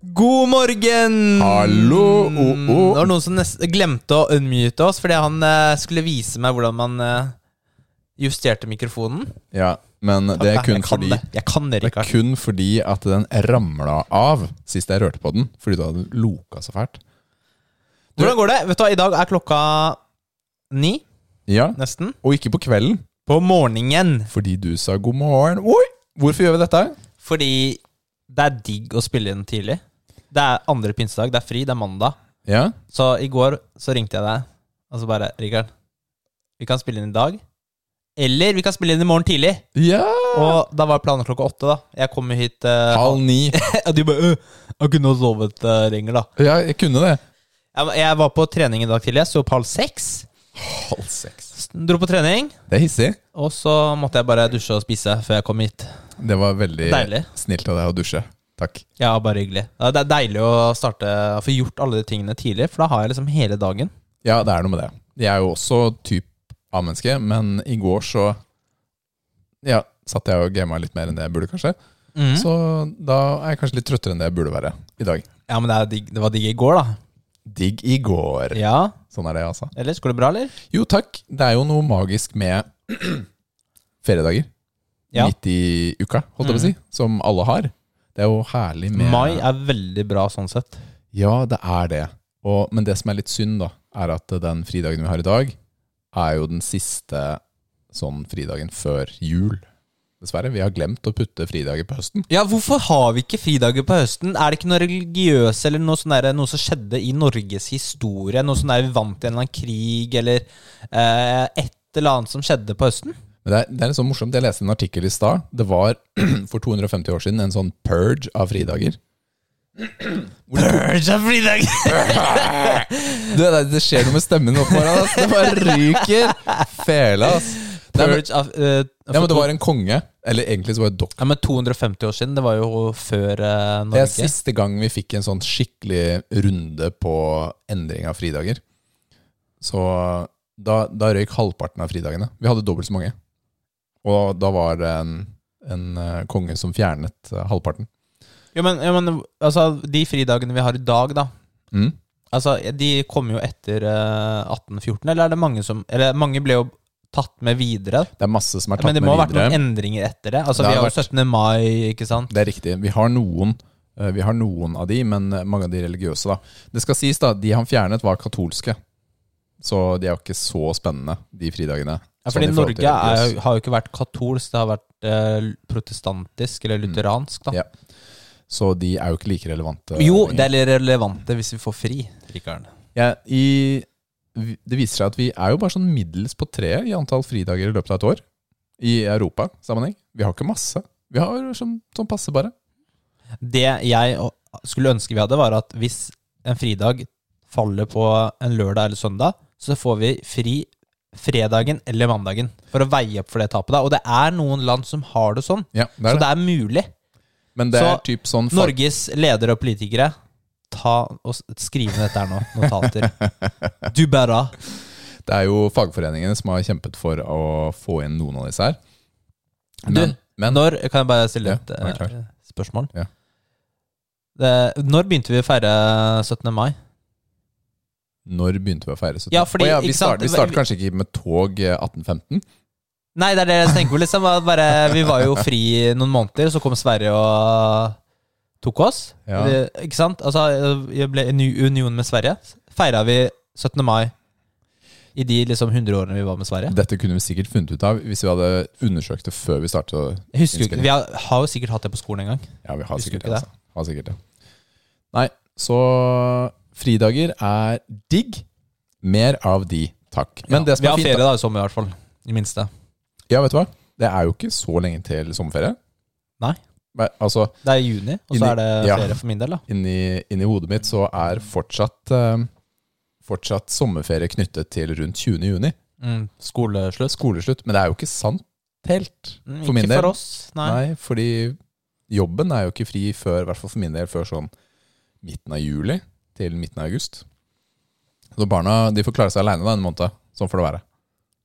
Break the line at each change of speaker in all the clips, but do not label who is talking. God morgen! Mm,
Hallo, oh, oh.
Det var noen som nest glemte å unmute oss fordi han eh, skulle vise meg hvordan man eh, justerte mikrofonen.
Ja, men det er
Nei,
kun
jeg kan
fordi
det. Jeg kan det,
det er
Rikard.
kun fordi at den ramla av sist jeg rørte på den. Fordi du hadde loka så fælt.
Hvordan går det? Vet du hva, I dag er klokka ni,
Ja,
nesten.
Og ikke på kvelden,
På morgenen.
fordi du sa god morgen. Oi, hvorfor gjør vi dette?
Fordi det er digg å spille inn tidlig. Det er andre pinsedag, det er fri, det er mandag.
Ja,
Så i går så ringte jeg deg, og så bare Rikard, vi kan spille inn i dag. Eller vi kan spille inn i morgen tidlig.
ja.
Og da var planen klokka åtte, da. Jeg kom jo hit eh,
halv ni.
Og de bare «Øh, Jeg kunne ha sovet, eh, Ringer, da.
Ja, jeg kunne det.
Jeg, jeg var på trening i dag tidlig. Jeg sto opp halv seks.
Halv seks.
Dro på trening.
Det er hissig.
Og så måtte jeg bare dusje og spise før jeg kom hit.
Det var veldig
Deilig.
snilt av deg å dusje. Takk.
Ja, bare hyggelig. Ja, Det er deilig å starte å få gjort alle de tingene tidlig, for da har jeg liksom hele dagen.
Ja, det er noe med det. Jeg er jo også typ A-menneske, men i går så Ja, satt jeg og gama litt mer enn det jeg burde, kanskje.
Mm.
Så da er jeg kanskje litt trøttere enn det jeg burde være i dag.
Ja, men det, er digg, det var digg i går, da.
Digg i går.
Ja.
Sånn er det, altså.
Ellers går det bra, eller?
Jo, takk. Det er jo noe magisk med feriedager.
Ja. Mm.
Midt i uka, holdt jeg på å si. Som alle har. Det er jo herlig med
Mai er veldig bra sånn sett.
Ja, det er det. Og, men det som er litt synd, da, er at den fridagen vi har i dag, er jo den siste sånn fridagen før jul. Dessverre. Vi har glemt å putte fridager på høsten.
Ja, hvorfor har vi ikke fridager på høsten? Er det ikke noe religiøse eller noe, sånn der, noe som skjedde i Norges historie? Noe sånn der vi vant i en eller annen krig, eller eh, et eller annet som skjedde på høsten?
Men det er, det er litt sånn morsomt. Jeg leste en artikkel i stad. Det var for 250 år siden en sånn purge av fridager.
Purge av fridager!
Du, det, det skjer noe med stemmen nå på morgenen. ass. Det bare ryker. Fela, ass. Nei, men,
Purge av, eh,
ja, men det var en konge. Eller egentlig så var det dokk.
ja, men 250 år siden, det var jo før eh,
Det er
Norge.
siste gang vi fikk en sånn skikkelig runde på endring av fridager. Så da, da røyk halvparten av fridagene. Vi hadde dobbelt så mange. Og da var det en, en eh, konge som fjernet eh, halvparten.
Jo, men, jo, men altså, de fridagene vi har i dag, da.
Mm.
Altså, de kom jo etter eh, 1814, eller er det mange som Eller mange ble jo tatt med videre.
Det er masse som er tatt
Men det
med
må ha vært noen
videre.
endringer etter det. Altså,
Det
vi
har
har jo
vært-
17. mai, ikke sant?
Det er riktig. Vi har noen. eh, Vi har noen av de, men eh, mange av de religiøse, da. Det skal sies, da, de han fjernet, var katolske. Så de er jo ikke så spennende, de fridagene.
Ja,
Sånn
fordi
i forhold til
Norge er,
religiøs.
jo- har jo ikke vært katolsk, det har vært eh, protestantisk eller lutheransk. da.
Mm. Ja. Så de er jo ikke like relevante.
Jo,
lenger.
det er litt relevante hvis vi får fri, Rikard.
Ja, i, vi- det viser seg at vi er jo bare sånn middels på treet i antall fridager i løpet av et år. I Europa-sammenheng. Vi har ikke masse. Vi har sånn, sånn passe, bare.
Det jeg å- skulle ønske vi hadde, var at hvis en fridag faller på en lørdag eller søndag, så får vi fri fredagen eller mandagen for å veie opp for det tapet. da. Og det er noen land som har det sånn,
Ja, det
så
er det.
det er mulig.
Men det er
så
typ sånn fag-
Norges ledere og politikere, ta og s- skriv ned dette her nå. Notater. Du bare.
Det er jo fagforeningene som har kjempet for å få inn noen av disse her. Men,
Du,
men
Når, kan jeg bare stille
Ja,
et
vær klar.
eh, spørsmål?
Ja.
Det, når begynte vi å feire 17. mai?
når begynte vi å feire 17?
Ja, fordi,
Å ja, vi,
ikke sant,
start, vi startet kanskje ikke med tog eh, 1815?
Nei, det er det jeg tenker på. Liksom, at bare, vi var jo fri i noen måneder, så kom Sverige og tok oss.
Ja.
Det, ikke sant? Altså, jeg ble i ny union med Sverige. Feira vi 17. mai i de liksom 100 årene vi var med Sverige?
Dette kunne vi sikkert funnet ut av hvis vi hadde undersøkt det før vi startet. å-
Jeg husker jo ikke,
Innspilling.
Vi har, har jo sikkert hatt det på skolen en gang.
Ja, vi har
Husker
sikkert
ikke
det. Altså. Har sikkert det. Nei, så fridager er digg. Mer av de, takk. Men det som
vi
er
har
fint,
ferie da, i sommer i hvert fall. I minste.
da, ja, vet du hva? Det er jo ikke så lenge til sommerferie.
Nei.
Men, altså,
Det er i juni, og så
Inni-
er det
ja.
ferie for min del. da
inni, inni hodet mitt så er fortsatt, eh, fortsatt sommerferie knyttet til rundt 20. juni.
mm, Skoleslutt.
Skoleslutt. Men det er jo ikke sant helt.
Mm,
For min
ikke
del.
for oss, nei.
Nei, fordi jobben er jo ikke fri før, i hvert fall for min del, før sånn midten av juli til midten av august. Så barna de får klare seg aleine en måned. Sånn får det være.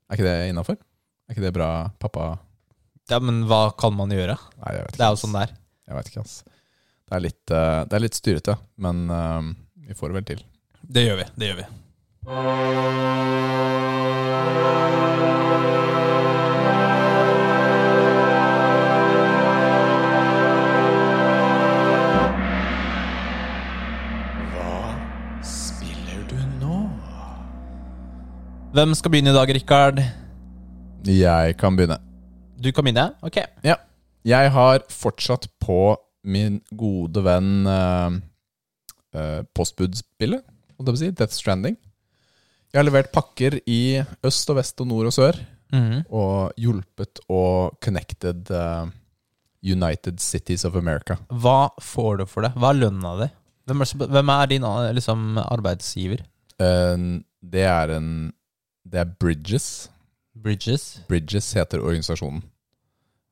Er ikke det innafor? Er ikke det bra, pappa?
Ja, Men hva kan man gjøre?
Nei, jeg vet ikke.
Det er jo sånn det er.
Jeg vet ikke, ass. Det Det er litt, eh, det er litt styrete, men eh, vi får det vel til.
Det gjør vi. Det gjør vi.
Hva spiller du nå?
Hvem skal begynne i dag, Rikard?
Jeg kan begynne.
Du kan begynne. Ok.
Ja. Jeg har fortsatt på min gode venn uh, postbudspillet, holdt jeg på å si, Death Stranding. Jeg har levert pakker i øst og vest og nord og sør,
Mhm.
og hjulpet og connected eh, United Cities of America.
Hva får du for det? Hva er lønna di? Hvem er, som- hvem er din eh, liksom, arbeidsgiver?
Eh, det er en Det er Bridges.
Bridges?
Bridges heter organisasjonen.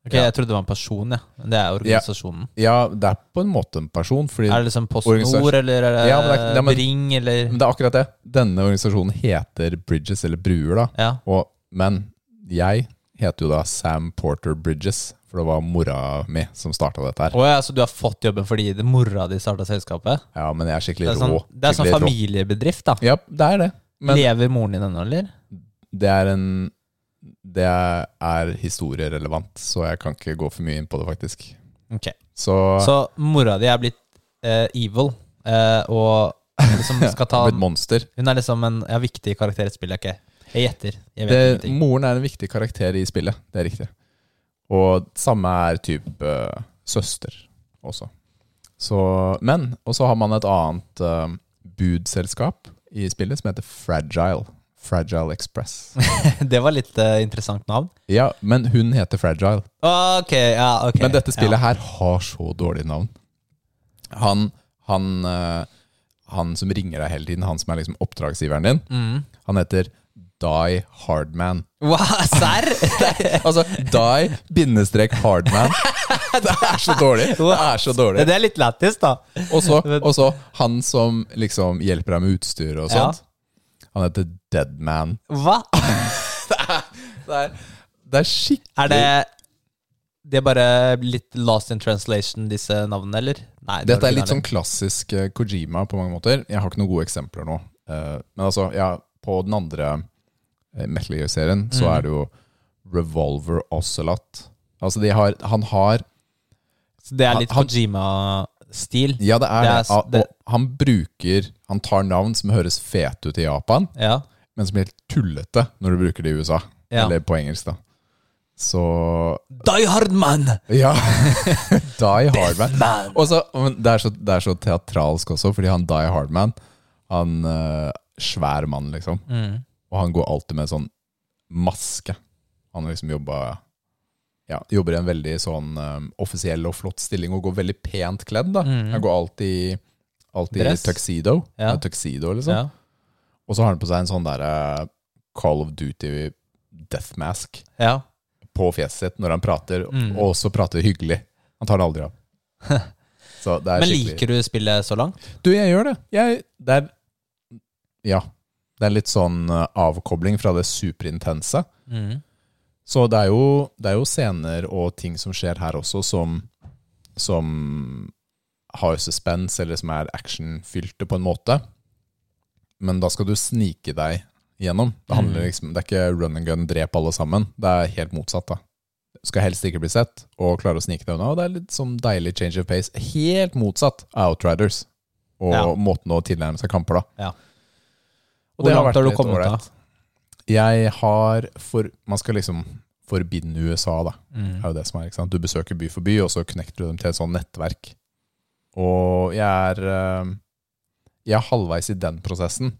Ok,
Ja.
Jeg trodde det var en person, ja. Men Det er organisasjonen.
Ja, det er på en måte en person, fordi
Er det liksom PostNord,
Organisasjon.
eller er det,
Ja, men det er- ja, men-
Bring, eller
Men det er akkurat det. Denne organisasjonen heter Bridges, eller Bruer, da.
Ja.
Og, men jeg heter jo da Sam Porter Bridges, for det var mora mi som starta dette her.
Å ja, så du har fått jobben fordi det- mora di starta selskapet?
Ja, men jeg er
Det
skikkelig
er sånn,
rå.
det er sånn
Skikkelig rå.
familiebedrift, da.
Ja, det er det. Men
Lever moren din ennå, eller?
det er en Det er historierelevant, så jeg kan ikke gå for mye inn på det, faktisk.
Ok.
Så,
Så mora di er blitt eh, evil, eh, og liksom skal ta
blitt monster.
Hun er liksom en ja, viktig karakter i et spill, ok. Jeg gjetter. Jeg vet
Det,
ingenting.
moren er en viktig karakter i spillet, det er riktig. Og samme er type eh, søster også. Så, men, og så har man et annet eh, budselskap i spillet som heter Fragile. Fragile Express.
Det var litt eh, interessant navn.
Ja, men hun heter Fragile.
Ok, ja, ok.
Men dette spillet
ja.
her har så dårlig navn. Han, han, eh, han som ringer deg hele tiden, han som er liksom oppdragsgiveren din,
Mm.
han heter Die Hardman.
Wow, serr?
Altså, die bindestrek hardman. Det er så dårlig. Det er så dårlig.
det er litt lættis, da.
Og så- Og så han som liksom hjelper deg med utstyr og sånt. Han heter Deadman.
Hva?
Det er, det er skikkelig
Er det Det er bare litt lost in translation, disse navnene, eller? Nei, det
Dette er litt
originale.
sånn klassisk eh, Kojima på mange måter. Jeg har ikke noen gode eksempler nå. Eh, Men altså, ja, på den andre eh, Metal Gear-serien så
Mm.
er det jo Revolver Ocelot. Altså, de har, han har
Så det er litt
Han-
Kojima-stil.
Ja, det er
Det
det.
er s-
Ah,
det-
Og han bruker Han tar navn som høres fete ut i Japan,
Ja.
men som blir helt tullete når du bruker det i USA.
Ja.
Eller på engelsk, da. Så
Die hard man!
Ja! Die Hardman.
man.
Og så- men det, er så, det er så teatralsk også, fordi han Die Hardman Han eh, Svær mann, liksom.
Mm.
Og han går alltid med sånn maske. Han har liksom jobba ja, Jobber i en veldig sånn eh, offisiell og flott stilling og går veldig pent kledd. da
Mhm.
Han går alltid, alltid i
Dress.
tuxedo.
Ja.
Ja, tuxedo liksom.
Ja.
Og så har han på seg en sånn der eh, Call of Duty death mask
ja.
på fjeset sitt når han prater,
Mhm.
og også prater hyggelig. Han tar det aldri av. Så det er
Men
skikkelig
liker du spillet så langt?
Du, jeg gjør det. Jeg, det er Ja. Det er litt sånn eh, avkobling fra det superintense.
Mm.
Så det er, jo, det er jo scener og ting som skjer her også, som, som har suspens, eller som er actionfylte på en måte. Men da skal du snike deg gjennom. Det, handler
Mm.
liksom, det er ikke run and gun, drep alle sammen. Det er helt motsatt, da. Du skal helst ikke bli sett, og klare å snike deg unna. Og det er litt sånn deilig change of pace. Helt motsatt av Outriders, og
Ja.
måten å tilnærme seg kamper, da.
Ja.
Og det
Hvor langt
vært
har du
litt
kommet
ålreit.
da?
Jeg har for, Man skal liksom forbinde USA, da.
Mm.
Det er jo det som er, ikke sant? Du besøker by for by, og så connecter du dem til et sånt nettverk. Og jeg er eh, Jeg er halvveis i den prosessen.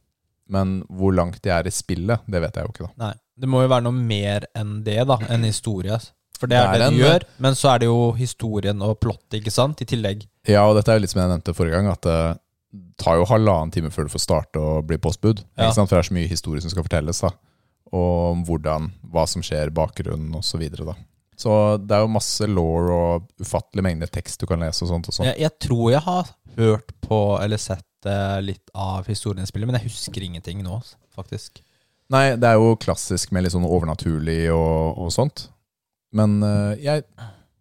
Men hvor langt jeg er i spillet, det vet jeg jo ikke, da.
Nei. Det må jo være noe mer enn det, da.
Mm.
Enn historie. For det er
Det er
det du
en-
gjør. Men så er det jo historien og plottet, ikke sant? I tillegg.
eh, Ja, og dette er jo litt som jeg nevnte forrige gang, at eh, det tar jo halvannen time før du får starte og bli postbud.
Ja.
Ikke sant? For det er så mye historie som skal fortelles, da. Og om hvordan, hva som skjer, bakgrunnen osv. Så, videre, da. så det er jo masse law og ufattelig mengde tekst du kan lese og sånt. Og sånt.
Jeg, jeg tror jeg har hørt på eller sett eh, litt av historien i spillet, men jeg husker ingenting nå, altså, faktisk.
Nei, det er jo klassisk med litt sånn overnaturlig og, og sånt. Men eh, jeg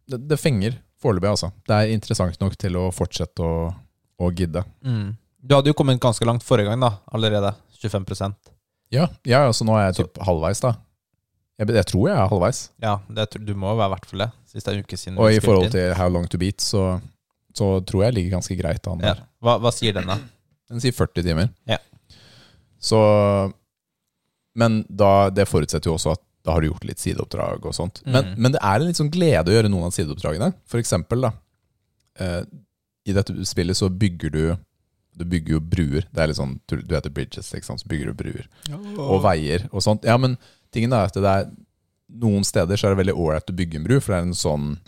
det, det fenger. Foreløpig, altså. Det er interessant nok til å fortsette å, å gidde.
Mm. Du hadde jo kommet ganske langt forrige gang, da. Allerede. 25
Ja, ja altså nå er jeg typ halvveis, da. Jeg, jeg tror jeg er halvveis.
Ja, det, tror- du må jo være i hvert fall det. Sist det er en uke siden.
Og
vi
i
spilte
forhold
inn.
til How Long To Beat, så, så tror jeg ligger ganske greit an
ja.
der.
hva, hva sier den, da?
Den sier 40 timer.
Ja.
Så Men da, det forutsetter jo også at da har du gjort litt sideoppdrag og sånt. Men,
Mhm.
men det er en litt sånn glede å gjøre noen av sideoppdragene. For eksempel, da. Eh, I dette spillet så bygger du Du bygger jo bruer. Det er litt sånn Du du heter Bridges, ikke sant. Så bygger du bruer. Og veier og sånt. Ja, men tingen er at det er Noen steder så er det veldig ålreit å bygge en bru, for det er en sånn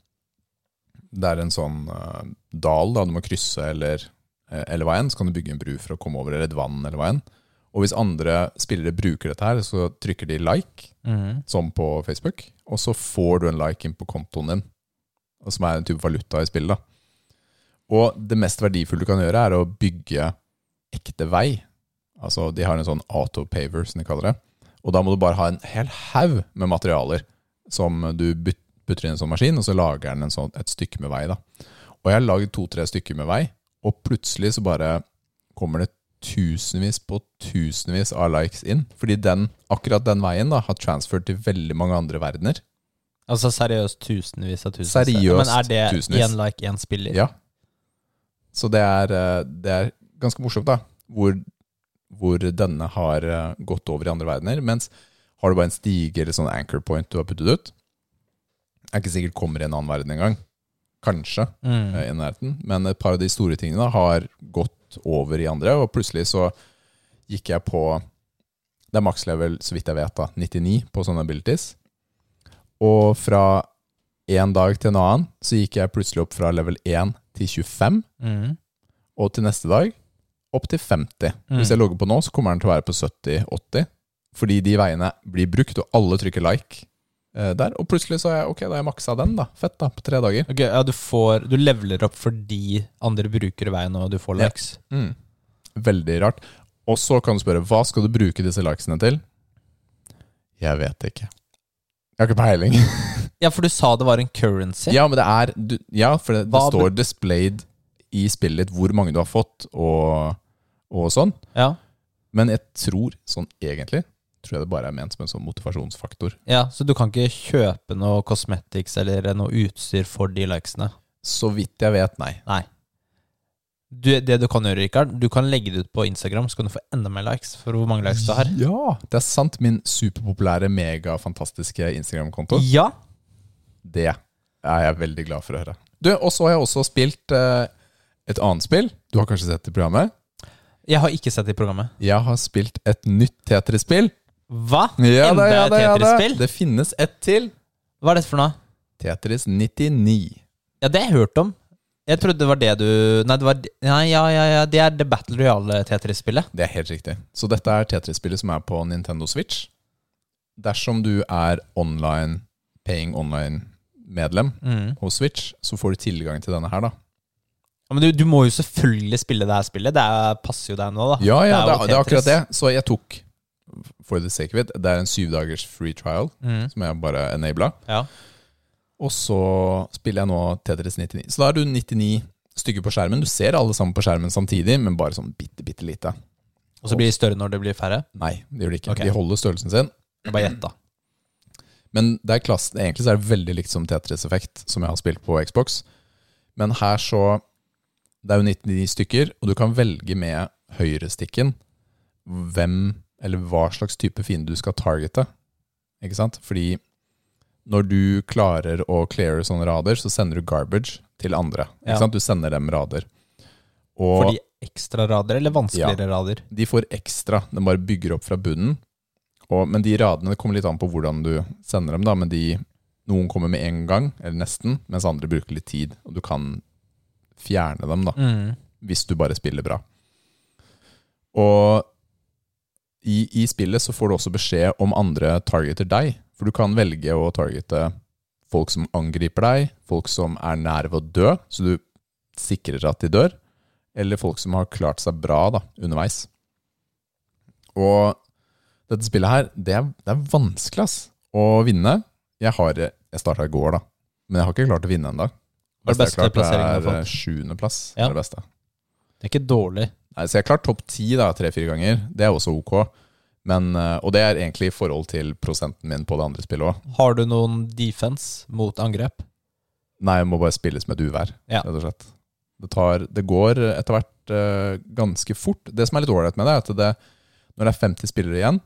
Det er en sånn eh, dal da du må krysse, eller, eh, eller hva enn. Så kan du bygge en bru for å komme over, eller et vann, eller hva enn. Og hvis andre spillere bruker dette her, så trykker de like,
Mhm.
som på Facebook, og så får du en like inn på kontoen din, og som er en type valuta i spillet. da. Og det mest verdifulle du kan gjøre, er å bygge ekte vei. Altså, de har en sånn autopaver, som de kaller det. Og da må du bare ha en hel haug med materialer som du byt- putter inn i en sånn maskin, og så lager den en sånn, et stykke med vei. da. Og jeg har lagd to-tre stykker med vei, og plutselig så bare kommer det tusenvis på tusenvis av likes inn. Fordi den, akkurat den veien da, har transfert til veldig mange andre verdener.
Altså seriøst tusenvis av tusenvis.
Seriøst
Men er det
tusenvis.
én like, én spiller?
Ja. Så det er, eh, det er ganske morsomt, da. Hvor, hvor denne har eh, gått over i andre verdener. Mens har du bare en stige eller sånn anchor point du har puttet ut, er ikke sikkert kommer i en annen verden engang. Kanskje.
Mm.
eh, i nærheten. Men et par av de store tingene da, har gått over i andre, og plutselig så gikk jeg på Det er maks level, så vidt jeg vet, da, 99 på sånne abilities. Og fra en dag til en annen så gikk jeg plutselig opp fra level 1 til 25,
Mm.
og til neste dag opp til 50. Hvis jeg logger på nå, så kommer den til å være på 70-80, fordi de veiene blir brukt, og alle trykker like eh, der. Og plutselig så er jeg ok, da har jeg maksa den, da. Fett, da, på tre dager.
Ok, ja, du, får, du leveler opp fordi andre bruker veien, og du får
Ja.
likes.
Mm. Veldig rart. Og så kan du spørre, hva skal du bruke disse likesene til? Jeg vet ikke. Jeg har ikke peiling.
Ja, for du sa det var en currency.
Ja, men det er du, Ja, for det, det
Hva
står displayed i spillet ditt hvor mange du har fått, og, og sånn.
Ja.
Men jeg tror, sånn egentlig, tror jeg det bare er ment som en sånn motivasjonsfaktor.
Ja, Så du kan ikke kjøpe noe cosmetics eller noe utstyr for de likesene?
Så vidt jeg vet, nei.
Nei. Du, det du kan gjøre, Rikard, du kan legge det ut på Instagram, så kan du få enda mer likes for hvor mange likes du har.
Ja, det er sant. Min superpopulære, megafantastiske Instagram-konto.
Ja.
Det er jeg veldig glad for å høre. Du, Og så har jeg også spilt eh, et annet spill. Du har kanskje sett det i programmet?
Jeg har ikke sett det i programmet.
Jeg har spilt et nytt Tetris-spill.
Hva?
Ja
enda
da, ja
et
da, ja da.
Tetris-spill?
Det finnes et til.
Hva er dette for noe?
Tetris 99.
Ja, det har jeg hørt om. Jeg trodde det var det du Nei, det var Nei, ja, ja, ja. Det er The Battle eh, Royale-Tetris-spillet.
Det er helt riktig. Så dette er Tetris-spillet som er på Nintendo Switch. Dersom du er online, paying online-medlem
Mm.
hos Switch, så får du tilgang til denne her, da.
Ja, men du, du må jo selvfølgelig spille det her spillet. Det er, passer jo deg nå, da.
Ja, ja, det
Det er
er,
jo
det er akkurat det.
Tetris.
Så jeg tok, for the sake of it, det er en syvdagers free trial.
Mm.
som jeg bare enabla.
Ja.
Og så spiller jeg nå Tetris 99. Så da er du 99 stykker på skjermen. Du ser alle sammen på skjermen samtidig, men bare sånn bitte, bitte lite.
Og så blir det større når det blir færre.
Nei, det gjør de ikke.
Ok.
De holder størrelsen sin.
Det er Bare gjett, da.
Men det er klassen, egentlig så er det veldig likt som Tetris-effekt, som jeg har spilt på Xbox. Men her så Det er jo 99 stykker, og du kan velge med høyrestikken hvem eller hva slags type fiende du skal targete. Ikke sant? Fordi når du klarer å cleare sånne rader, så sender du garbage til andre. Ikke
Ja.
sant? Du sender dem rader.
For
Og
de ekstra rader, eller vanskeligere rader?
de får ekstra. Den bare bygger opp fra bunnen. Og, men de radene det kommer litt an på hvordan du sender dem. Da, men de, noen kommer med en gang, eller nesten, mens andre bruker litt tid. Og du kan fjerne dem, da,
Mm.
hvis du bare spiller bra. Og i, i spillet så får du også beskjed om andre targeter deg. For du kan velge å targete folk som angriper deg, folk som er nær ved å dø, så du sikrer at de dør, eller folk som har klart seg bra da, underveis. Og dette spillet her, det er, det er vanskelig ass, å vinne. Altså, Jeg, har- jeg starta i går, da, men jeg har ikke klart å vinne ennå.
Var det
Beste
beste
jeg klarte
plasseringen du har
er
fått?
sjuendeplass.
Ja.
Ja. Det beste.
Det er ikke dårlig.
Nei, så jeg har klart topp ti tre-fire ganger. Det er også ok. Men, eh, og det er egentlig i forhold til prosenten min på det andre spillet òg.
Har du noen defense mot angrep?
Nei, jeg må bare spilles med et uvær,
Ja.
rett og slett. Det, tar, det går etter hvert eh, ganske fort. Det som er litt ålreit med det, er at det, når det er 50 spillere igjen,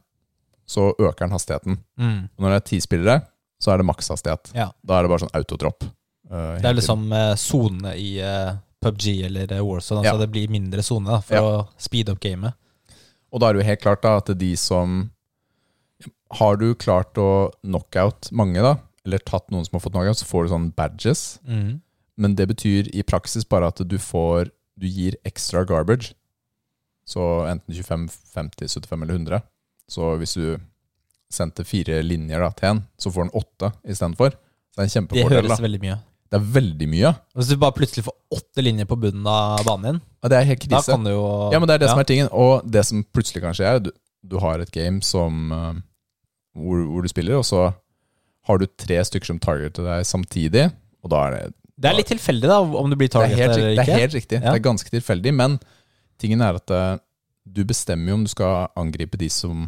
så øker den hastigheten.
Mm.
Og når det er 10 spillere, så er det makshastighet.
Ja.
Da er det bare sånn autotropp. eh,
Det
hele
er liksom eh, sone i eh, PubG eller eh, Warzone. Altså
Ja.
det blir mindre sone da, for å speede opp gamet.
Og da er det jo helt klart da at de som Har du klart å knockout mange, da, eller tatt noen som har fått knockout, så får du sånn badges.
Mm.
Men det betyr i praksis bare at du får Du gir ekstra garbage. Så enten 25, 50, 75 eller 100. Så hvis du sendte fire linjer da, til en, så får den åtte istedenfor. Så det er en
Det
kjempefordel.
høres
da.
veldig mye.
Det er veldig mye.
Hvis du bare plutselig får åtte linjer på bunnen av banen din,
Ja, det er helt
da
krise.
kan du jo
Ja, men det er det som er tingen. Og det som plutselig kanskje er, du, du har et game som eh, hvor, hvor du spiller, og så har du tre stykker som targeter deg samtidig, og da er det
Det er litt tilfeldig da, om du blir
Det er
target
helt,
eller
riktig-
ikke.
det er helt riktig.
Ja.
Det er ganske tilfeldig, men tingen er at eh, du bestemmer jo om du skal angripe de som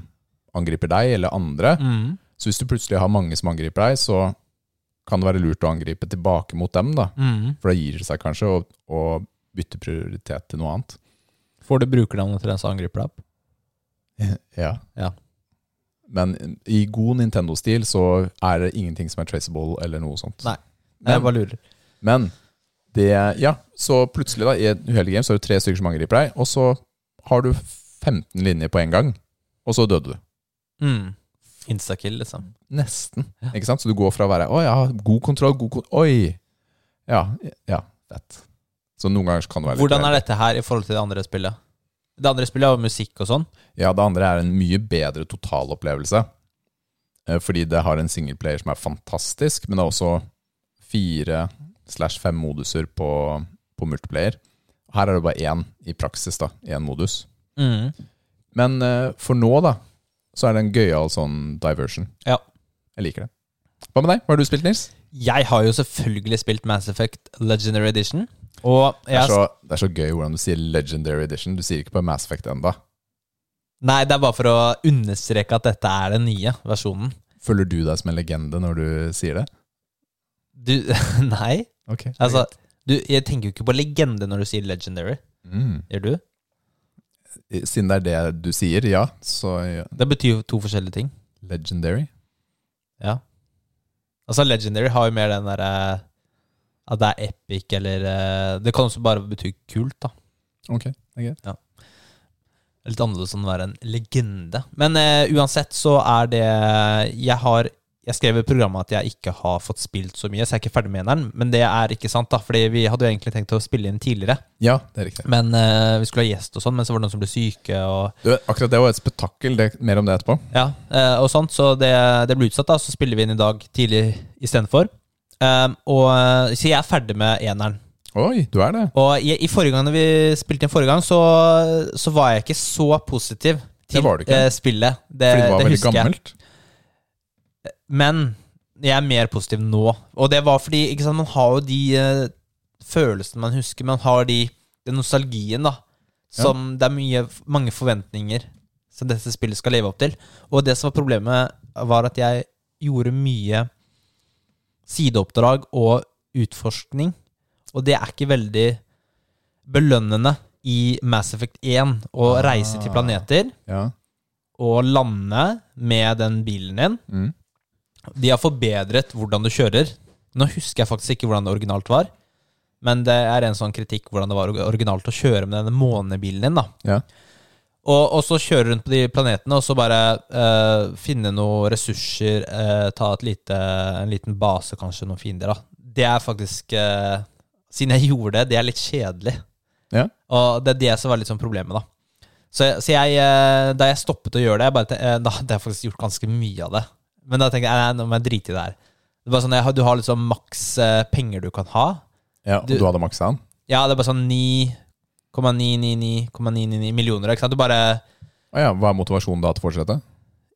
angriper deg, eller andre.
mm.
Så hvis du plutselig har mange som angriper deg, så kan det være lurt å angripe tilbake mot dem, da.
Mm.
For da gir det seg kanskje å, å bytte prioritet til noe annet.
Får du brukernavnet til den som angriper deg opp?
Eh, Ja.
Ja.
Men i god Nintendo-stil så er det ingenting som er traceable eller noe sånt.
Nei. Nei,
Men,
Jeg bare lurer.
men det Ja, så plutselig, da, i en uheldig game, så er det tre stykker som angriper deg, og så har du 15 linjer på en gang, og så døde du.
Mm. Instakill, liksom.
Nesten.
Ja.
Ikke sant? Så du går fra å være Å, jeg har god kontroll, god kontroll Oi! Ja. Ja. Fett. Så noen ganger så kan det være litt
Hvordan er dette her i forhold til det andre spillet? Det andre spillet er jo musikk og sånn.
Ja, det andre er en mye bedre totalopplevelse. Eh, Fordi det har en singleplayer som er fantastisk, men det er også fire slash fem moduser på, på multiplayer. Her er det bare én i praksis, da. Én modus.
Mm.
Men eh, for nå, da, så er det en gøyal sånn diversion.
Ja.
Jeg liker det. Hva med deg? Hva har du spilt, Nils?
Jeg har jo selvfølgelig spilt Mass Effect Legendary Edition. Og
Det
jeg
er, så, det er så gøy hvordan du sier Legendary Edition. Du sier ikke på Mass Effect ennå.
Nei, det er bare for å understreke at dette er den nye versjonen.
Føler du deg som en legende når du sier det?
Du Nei.
Ok.
Altså, du, jeg tenker jo ikke på legende når du sier legendary.
mm.
Gjør du?
Siden det er det du sier, ja, så ja.
Det betyr jo to forskjellige ting.
Legendary?
Ja. Altså, legendary har jo mer den derre At det er epic, eller eh, Det kan også bare bety kult, da.
Ok, det er greit.
Det er Litt annerledes enn å være en legende. Men eh, uansett så er det Jeg har jeg skrev i programmet at jeg ikke har fått spilt så mye, så jeg er ikke ferdig med eneren. Men det er ikke sant, da, fordi vi hadde jo egentlig tenkt å spille inn tidligere.
Ja, det er riktig.
Men eh, vi skulle ha gjest og sånn, men så var det noen som ble syke og
Du, akkurat det var et spetakkel. Det, mer om det etterpå.
Ja, eh, og sånt, så det, det ble utsatt, da. Så spiller vi inn i dag tidlig istedenfor. Um, og, eh, så jeg er ferdig med eneren.
Oi, du er det.
Og i, i forrige gang når vi spilte inn forrige gang, så, så var jeg ikke så positiv til
Det var du ikke.
eh, spillet. Det,
Fordi det var
det
veldig
husker jeg.
gammelt.
Men jeg er mer positiv nå. Og det var fordi ikke sant, man har jo de eh, følelsene man husker. Man har de, den nostalgien, da. Som det er mye, mange forventninger som dette spillet skal leve opp til. Og det som var problemet, var at jeg gjorde mye sideoppdrag og utforskning. Og det er ikke veldig belønnende i Mass Effect 1 å
Ah.
reise til planeter
Ja.
og lande med den bilen din.
Mm.
De har forbedret hvordan du kjører. Nå husker jeg faktisk ikke hvordan det originalt var, men det er en sånn kritikk hvordan det var originalt å kjøre med denne månebilen din. da.
Ja.
Og, og så kjøre rundt på de planetene og så bare eh, finne noen ressurser, eh, ta et lite, en liten base, kanskje noen fiender. da. Det er faktisk eh, Siden jeg gjorde det, det er litt kjedelig.
Ja.
Og det er det som var litt sånn problemet, da. Så, jeg- så jeg, eh, da jeg stoppet å gjøre det, jeg bare, ten- eh, da hadde jeg faktisk gjort ganske mye av det. Men da tenkte jeg nei, nå må jeg drite i det her. Det er bare sånn, jeg har- Du har liksom maks eh, penger du kan ha.
ja og
Du-
du, hadde maksa den?
Ja, det er bare sånn 9,999,999 millioner. Ikke sant? Du bare,
Å ja, hva er motivasjonen da til å fortsette?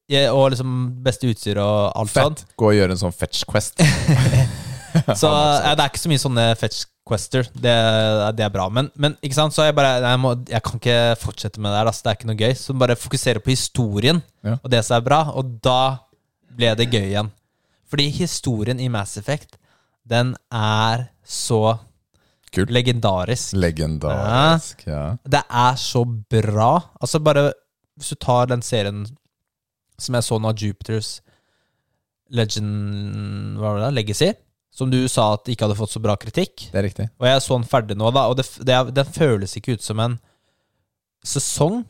ja, og liksom beste utstyr og alt sånt.
Fett! Gå og gjøre en sånn fetch quest.
Så ja, det er ikke så mye sånne fetch Quester. Det, er- det er bra. Men, men ikke sant? så jeg bare jeg, må, jeg kan ikke fortsette med det her. Altså, det er ikke noe gøy. Så bare fokusere på historien
Ja.
og det som er bra, og da ble det gøy igjen. Fordi historien i Mass Effect, den er så
Kul.
legendarisk.
Legendarisk. Ja.
Det er så bra. Altså, bare hvis du tar den serien som jeg så nå, Jupiters Legend Hva var det? da? Legacy? Som du sa at ikke hadde fått så bra kritikk.
Det er riktig.
Og jeg så den ferdig nå, da, og det, det, er- den føles ikke ut som en sesong.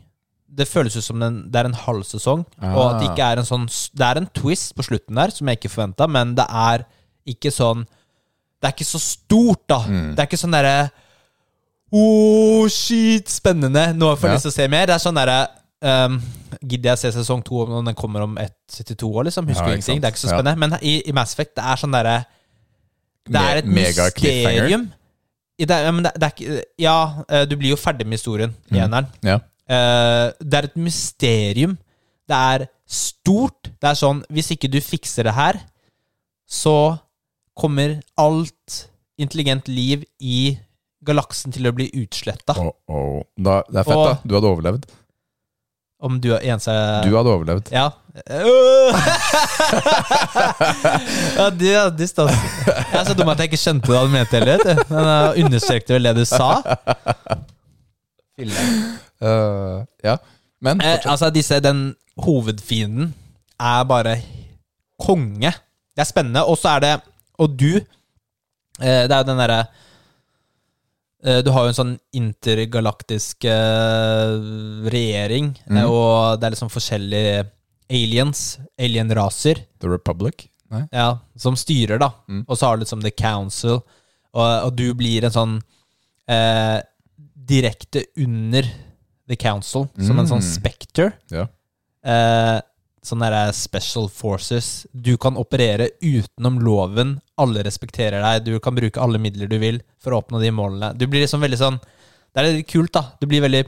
Det føles ut som den, det er en halv sesong, og at det ikke
Ah.
er en sånn Det er en twist på slutten der som jeg ikke forventa, men det er ikke sånn Det er ikke så stort, da.
Mm.
Det er ikke sånn derre Oh, shit, spennende! Nå får jeg
Ja.
lyst til å se mer. Det er sånn derre ehm, Gidder jeg se sesong to om den kommer om ett til to år, liksom? Husker
Ja, ikke
ingenting. Det er ikke så
sant. Ja.
spennende. Men i, i Mass Effect, det er sånn derre det
Me-
er et
mega cliffhanger.
mysterium. I Det, ja, men det, det er ikke Ja, eh, du blir jo ferdig med historien
Mm.
i eneren.
Ja.
Eh, Det er et mysterium. Det er stort. Det er sånn Hvis ikke du fikser det her, så kommer alt intelligent liv i galaksen til å bli utsletta.
Oh, oh. Da, det er fett,
Og-
da. Du hadde overlevd.
Om du er eneste
Du hadde overlevd.
Ja. Øh! ja, du ja, du stas. Jeg er så dum at jeg ikke skjønte hva du mente heller. vet du. Men jeg understrekte vel det du sa.
Eh, ja. Men
Eh, altså, disse, den hovedfienden er bare konge. Det er spennende. Og så er det Og du eh, Det er jo den derre eh, du har jo en sånn intergalaktisk eh, regjering, eh, og det er liksom forskjellige aliens, alien-raser,
The Republic? Nei.
ja, som styrer, da. Og så har du liksom The Council, og, og du blir en sånn eh, direkte under The Council, som en sånn Spectre.
Ja.
Eh, sånn derre Special Forces. Du kan operere utenom loven, alle respekterer deg, du kan bruke alle midler du vil for å oppnå de målene. Du blir liksom veldig sånn Det er litt kult, da. Du blir veldig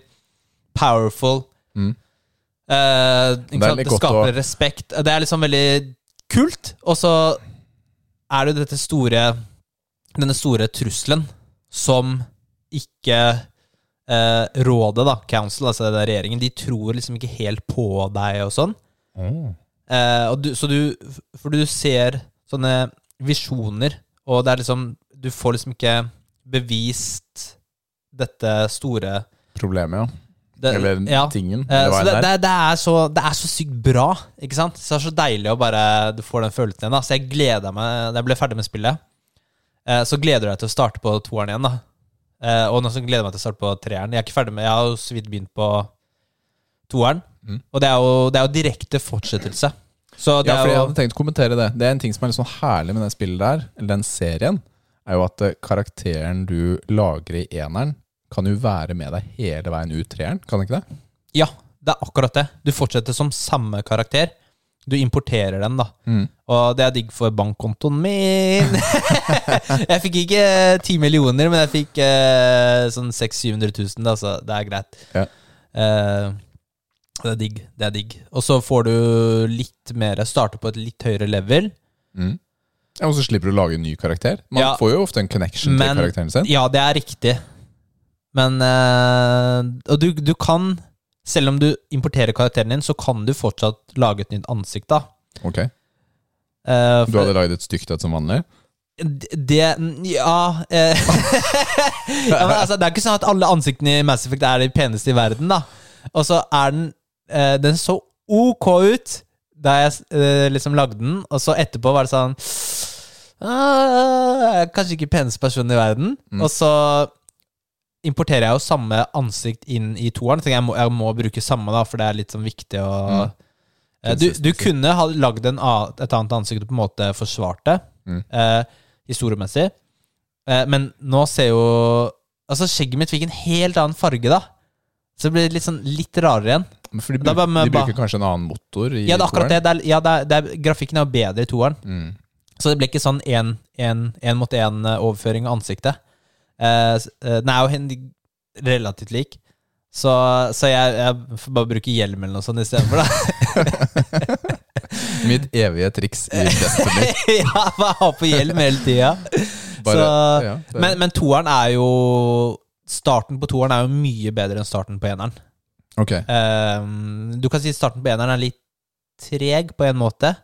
powerful.
Mm.
Eh, ikke
Det er
sant?
litt
Det
godt
skaper
å-
respekt. Det er liksom veldig kult. Og så er det jo dette store Denne store trusselen som ikke eh, Rådet, da, council, altså det der regjeringen, de tror liksom ikke helt på deg og sånn. Eh, og du, så du For du ser sånne visjoner, og det er liksom Du får liksom ikke bevist dette store
Problemet, ja.
det,
Eller
ja.
tingen.
Eh,
eller
så
hva enn
det,
det er.
det, det, er så, det er så sykt bra, ikke sant? Så det er så deilig å bare Du får den følelsen igjen. da Så jeg gleda meg da jeg ble ferdig med spillet. eh, Så gleder du deg til å starte på toeren igjen, da. Eh, Og nå så gleder jeg meg til å starte på treeren. Jeg er ikke ferdig med Jeg har jo så vidt begynt på toeren.
Mm.
Og det er, jo, det er jo direkte fortsettelse. Så det
Ja,
er
fordi jeg
jo
hadde tenkt å kommentere det. Det er en ting som er litt sånn herlig med det spillet der, eller den serien, er jo at eh, karakteren du lager i eneren, kan jo være med deg hele veien ut treeren, kan den ikke det?
Ja, det er akkurat det. Du fortsetter som samme karakter. Du importerer den, da. Og det er digg for bankkontoen min. jeg fikk ikke eh, ti millioner, men jeg fikk eh, sånn 600 000-700 000, da, så det er greit.
Ja.
Eh, det er digg. Det er digg. Og så får du litt mer Starter på et litt høyere level.
Ja, og så slipper du å lage en ny karakter. Man
Ja.
får jo ofte en connection
Men-
til karakteren sin.
Ja, det er riktig. Men eh, Og du, du kan, selv om du importerer karakteren din, så kan du fortsatt lage et nytt ansikt, da.
Ok,
Eh,
Du
for-
hadde lagd et stygt et som vanlig?
D- Det Ja. eh, ja men altså, det er ikke sånn at alle ansiktene i Mass Effect er de peneste i verden, da. Og så er den eh, Den så ok ut da jeg eh, liksom lagde den, og så etterpå var det sånn ah, jeg er Kanskje ikke peneste personen i verden.
Mm.
Og så importerer jeg jo samme ansikt inn i toeren. Tenker jeg, må, jeg må bruke samme, da, for det er litt sånn viktig å
Mm.
Eh, Du, du kunne ha lagd en, a- et annet ansikt og på en måte forsvart det,
Mm.
eh, historiemessig. Eh, men nå ser jo Altså, skjegget mitt fikk en helt annen farge, da. Så det blir litt sånn litt rarere igjen.
Men For de,
Da
bruk,
bare med
de
ba-
bruker kanskje en annen motor i
Ja, det er akkurat det.
toeren?
det, er, ja, det, er, det er, grafikken er jo bedre i toeren.
Mm.
Så det ble ikke sånn én-mot-én-overføring eh, av ansiktet. Eh, s- eh, den er jo hen- relativt lik, så, så jeg, jeg får bare bruke hjelm eller noe sånt istedenfor, da.
Mitt evige triks i Destiny.
ja, bare ha på hjelm hele tida. Så-
ja, det-
Men, men toeren er jo Starten på toeren er jo mye bedre enn starten på eneren.
ok.
Ehm, du kan si starten på eneren er litt treg på en måte.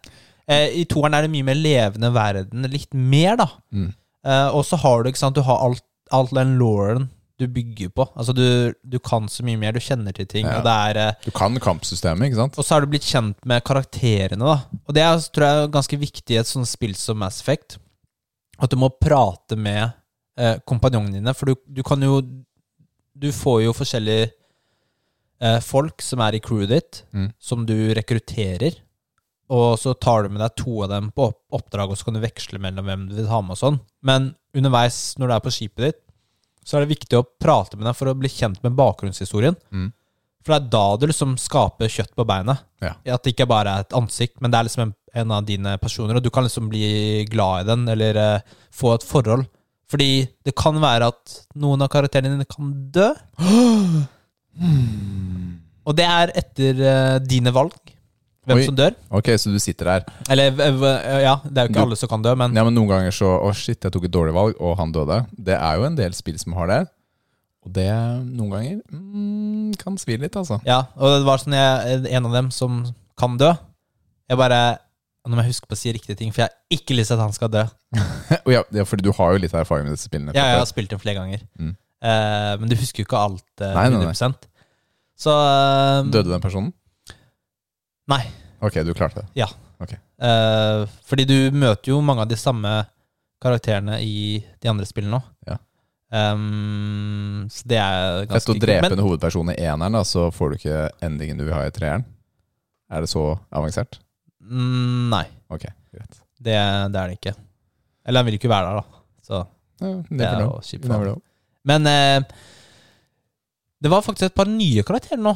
Eh, I toeren er det mye mer levende verden. Litt mer, da.
Mm.
Eh, og så har du ikke sant, du har alt, alt den lauren du bygger på. Altså Du, du kan så mye mer, du kjenner til ting.
Ja.
Og det er eh,
Du kan kampsystemet, ikke sant?
og så har du blitt kjent med karakterene. da Og det er, tror jeg er ganske viktig i et sånt spill som Mass Effect. At du må prate med eh, kompanjongene dine, for du, du kan jo Du får jo forskjellige eh, folk som er i crewet ditt,
Mm.
som du rekrutterer. Og så tar du med deg to av dem på opp- oppdrag, og så kan du veksle mellom hvem du vil ha med. og sånn Men underveis, når du er på skipet ditt, så er det viktig å prate med dem for å bli kjent med bakgrunnshistorien.
Mm.
For det er da du liksom skaper kjøtt på beinet.
Ja.
At det ikke bare er et ansikt, men det er liksom en, en av dine personer, og du kan liksom bli glad i den, eller eh, få et forhold. Fordi det kan være at noen av karakterene dine kan dø, og det er etter eh, dine valg. Hvem
Oi.
som dør.
Ok, så du sitter der.
Eller eh, v- v- ja, det er jo ikke
Du-
alle som kan dø, men
Ja, men noen ganger så Å, shit, jeg tok et dårlig valg, og han døde. Det er jo en del spill som har det. Og det noen ganger mm, kan svi litt, altså.
Ja, og det var sånn jeg, en av dem som kan dø. Jeg bare Nå må jeg huske på å si riktige ting, for jeg har ikke lyst til at han skal dø.
Og ja, ja, fordi du har jo litt erfaring med disse spillene.
Ja, jeg
fra
har spilt den flere ganger.
Mm.
Eh, men du husker jo ikke alt eh,
Nei, nei, nei.
100 Så
før.
eh,
Døde den personen?
Nei.
Ok, du klarte det.
eh, Fordi du møter jo mange av de samme karakterene i de andre spillene òg.
Ja.
så det er ganske
Fett å
kult.
drepe
Men-
en hovedperson i eneren, da, så får du ikke endingen du vil ha i treeren. Er det så avansert?
Mm, Nei,
Ok, greit.
det, det er det ikke. Eller han vil jo ikke være der, da. Så
Ja,
det
never
er
know.
jo kjipt. for han.
Never know.
Men eh, det var faktisk et par nye karakterer nå.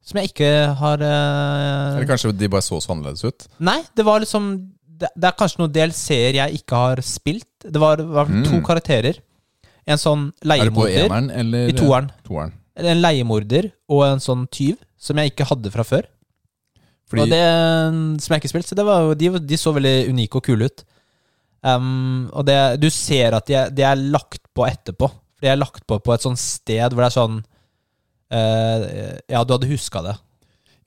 Som jeg ikke har eh,
Eller kanskje de bare så så annerledes ut?
Nei, det var liksom Det, det er kanskje noen DLC-er jeg ikke har spilt. Det var i hvert fall to
Mm.
karakterer. En sånn
Er det på
leiemorder
eneren eller
i toeren.
toeren?
Eller En leiemorder og en sånn tyv som jeg ikke hadde fra før. Og
Fordi
det som jeg ikke spilte, så det var jo de, de så veldig unike og kule ut. Ehm, og det, du ser at de er, de er lagt på etterpå. For de er lagt på på et sånt sted hvor det er sånn eh, Ja, du hadde huska det.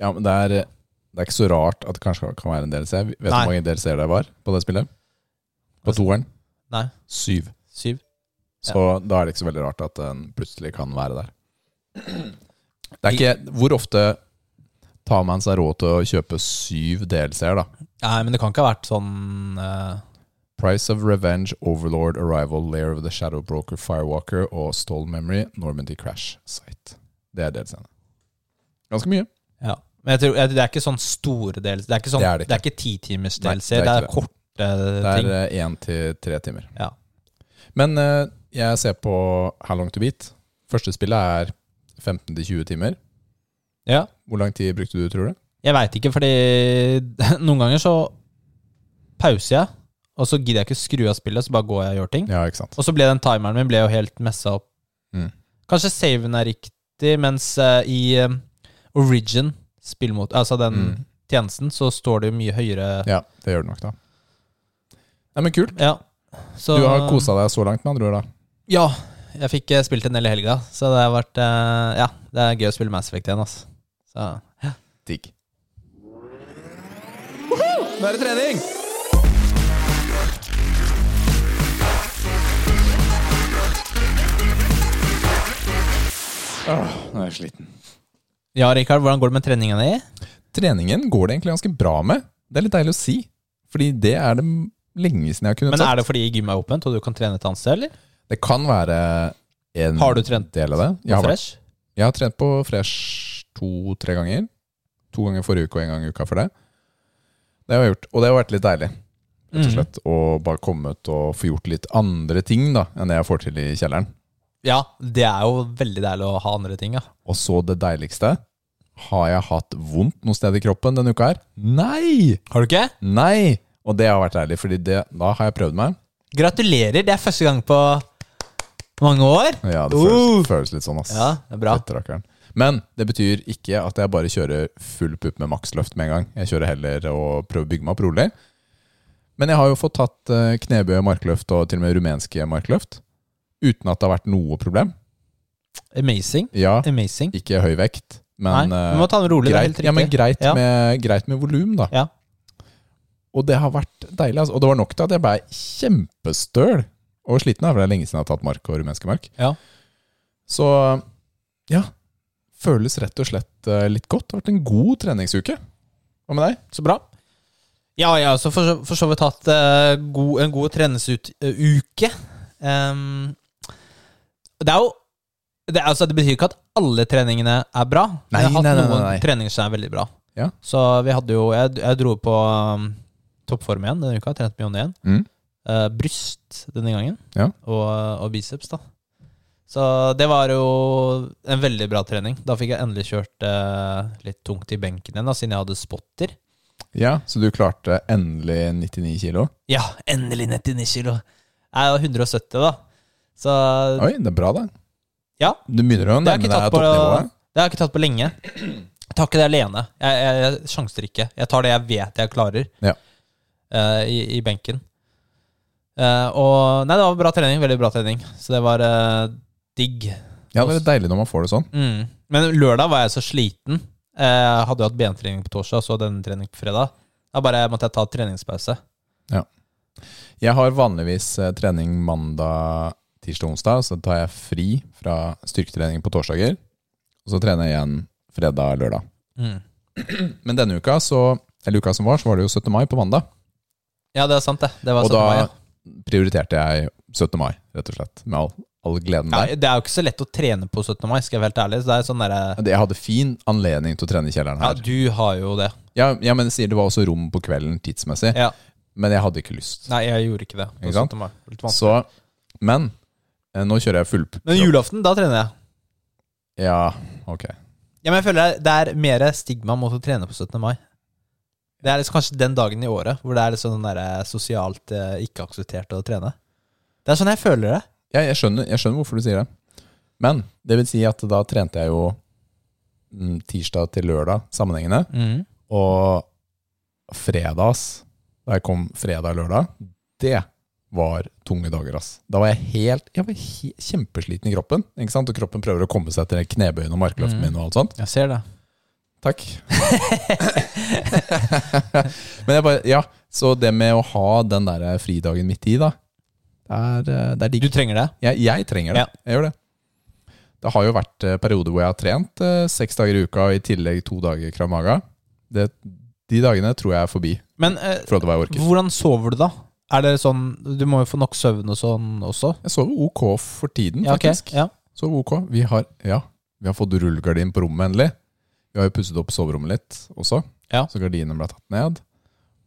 Ja, men det er, det er ikke så rart at det kanskje kan være en DLC. Vet du
Nei.
hvor mange DLC-er det var på det spillet? På toeren?
Nei.
Syv.
Syv.
Så da er det ikke så veldig rart at den plutselig kan være der. Det er ikke, hvor ofte tar man seg råd til å kjøpe syv DLC-er, da?
Nei, men det kan ikke ha vært sånn eh,
Price of Revenge, Overlord, Arrival, Lair of the Shadow Broker, Firewalker og Stole Memory, Normandy Crash Site. Det er DLC-ene. Ganske mye.
Ja. Men jeg tror, jeg, det er ikke sånn store DLC. Det er ikke, sånn, det
Det
er
er det ikke.
ikke titimers
Nei,
DLC.
det er
det er,
ikke det.
korte
Det
ting.
er eh, én til tre timer.
Ja.
Men eh, jeg ser på How Long To Beat. Første spillet er 15 til 20 timer.
Ja.
Hvor lang tid brukte du, tror du?
Jeg veit ikke, fordi noen ganger så pauser jeg, og så gidder jeg ikke skru av spillet, så bare går jeg og gjør ting.
Ja, ikke sant.
Og så ble den timeren min ble jo helt messa opp.
Mm.
Kanskje saven er riktig, mens eh, i eh, Origin, spillmot, altså den
Mm.
tjenesten, så står det jo mye høyere
Ja, det gjør det nok, da. Nei, men kult.
Ja. Så,
Du har kosa deg så langt, med andre ord. da
Ja. Jeg fikk eh, spilt en del i helga, så det har vært eh, Ja, det er gøy å spille Mass Effect igjen, altså. Så ja.
Digg. Nå er det trening! Åh, Ah, nå er jeg sliten.
ja, Rikard, hvordan går det med treninga di?
Treningen går det egentlig ganske bra med. Det er litt deilig å si. Fordi det er det lenge siden jeg har kunnet
Men
sagt.
er det fordi gymmet er åpent, og du kan trene et annet sted, eller?
Det kan være en
Har du trent
del av det.
På
Jeg har, vært-
Fresh?
jeg har trent på Fresh to-tre ganger. To ganger forrige uke og en gang i uka for det. Det har jeg gjort, og det har vært litt deilig. Rett og
Mhm.
slett Å bare komme ut og få gjort litt andre ting da enn det jeg får til i kjelleren.
Ja, det er jo veldig deilig å ha andre ting, ja.
Og så det deiligste. Har jeg hatt vondt noe sted i kroppen denne uka her? Nei!
Har du ikke?
Nei! Og det har vært deilig, Fordi det, da har jeg prøvd meg.
Gratulerer, det er første gang på mange år.
Ja, det
Uh!
føles, føles litt sånn, ass.
Ja, det er bra.
Fett, rakkeren. Men det betyr ikke at jeg bare kjører full pupp med maksløft med en gang. Jeg kjører heller og prøver å bygge meg opp rolig. Men jeg har jo fått tatt eh, knebøy og markløft, og til og med rumenske markløft, uten at det har vært noe problem.
Amazing.
Ja,
Amazing.
ikke høy vekt, men,
Nei,
eh,
vi må ta den rolig.
greit,
det er helt riktig.
ja, men greit,
Ja.
Med, greit med volum, da.
Ja.
Og det har vært deilig. Altså. Og det var nok til at jeg ble kjempestøl og sliten, da, for det er lenge siden jeg har tatt mark og rumenske mark.
Ja.
Så ja, føles rett og slett eh, litt godt. Det har vært en god treningsuke. Hva med deg?
Så bra. Ja, jeg har også for, så- for så vidt hatt eh, god, en god treningsuke. Um, det er jo det, er- altså, det betyr ikke at alle treningene er bra. men
Nei,
jeg har hatt
nei, nei,
noen
nei, nei.
treninger som er veldig bra.
Ja.
Så vi hadde jo Jeg, jeg dro på um, toppform igjen denne uka. Trent mye om det igjen.
Mm.
Eh, bryst denne gangen.
Ja.
Og, og biceps, da. Så det var jo en veldig bra trening. Da fikk jeg endelig kjørt eh, litt tungt i benken igjen, da, siden jeg hadde spotter.
Ja, så du klarte endelig 99 kilo?
Ja, endelig 99 kilo. Jeg var 170, da. Så
Oi, det er bra, da.
Ja.
Du begynner å
det har jeg
nærme
ikke
deg
tatt på,
toppnivået.
det har jeg ikke tatt på lenge. Jeg tar ikke det alene. Jeg, jeg, jeg sjanser ikke. Jeg tar det jeg vet jeg klarer
Ja.
eh, i, i benken. Eh, og Nei, det var bra trening. Veldig bra trening. Så det var eh, digg.
Ja, det er deilig når man får det sånn.
Mm. Men lørdag var jeg så sliten. Eh, Jeg hadde jo hatt bentrening på torsdag, og så denne trening på fredag. Da bare måtte jeg ta treningspause.
Jeg har vanligvis eh, trening mandag, tirsdag og onsdag, så tar jeg fri fra styrketrening på torsdager. Og så trener jeg igjen fredag og lørdag.
Mm.
Men denne uka, så, eller uka som var, så var det jo 17. mai på mandag.
Ja, det er sant, det. Det var
Og
sånn
da
det var, ja.
prioriterte jeg 17. mai, rett og slett, med all, all gleden der.
Ja, det er jo ikke så lett å trene på 17. mai, skal jeg være helt ærlig. Så det er sånn derre
Jeg hadde fin anledning til å trene i kjelleren
Ja,
her.
du har jo det.
Ja, ja, men jeg sier det var også rom på kvelden tidsmessig,
Ja.
men jeg hadde ikke lyst.
Nei, jeg gjorde ikke det. på
Ikke sant?
17. mai. Litt vanskelig.
Så, men eh, nå kjører jeg full
Men julaften, da trener jeg.
Ja, ok.
Ja, men jeg føler det er mer stigma mot å trene på 17. mai. Det er liksom kanskje den dagen i året hvor det er liksom den derre sosialt eh, ikke akseptert å trene. Det er sånn jeg føler det.
Ja, jeg, skjønner, jeg skjønner hvorfor du sier det. Men det vil si at da trente jeg jo mm, tirsdag til lørdag sammenhengende,
Mm,
og fredags, da jeg kom fredag og lørdag, det var tunge dager, ass. Da var jeg helt, jeg var he- kjempesliten i kroppen, ikke sant? Og kroppen prøver å komme seg til knebøyen og markløften
Mm.
min og alt sånt.
Jeg ser det.
Takk. Men jeg bare, ja, så det med å ha den der fridagen midt i da, det er, eh, det er digg.
Du trenger det?
Jeg, jeg trenger det.
Ja.
Jeg gjør det. Det har jo vært eh, perioder hvor jeg har trent eh, seks dager i uka og i tillegg to dager krav maga. Det, de dagene tror jeg er forbi i
Men eh,
forhold til hva jeg orker.
hvordan sover du, da? Er det sånn Du må jo få nok søvn og sånn også?
Jeg sover ok for tiden,
Ja, ok.
faktisk.
Ja.
Sover ok. Vi har, ja, vi har fått rullegardin på rommet endelig. Vi har jo pusset opp soverommet litt også,
Ja.
så gardinene ble tatt ned.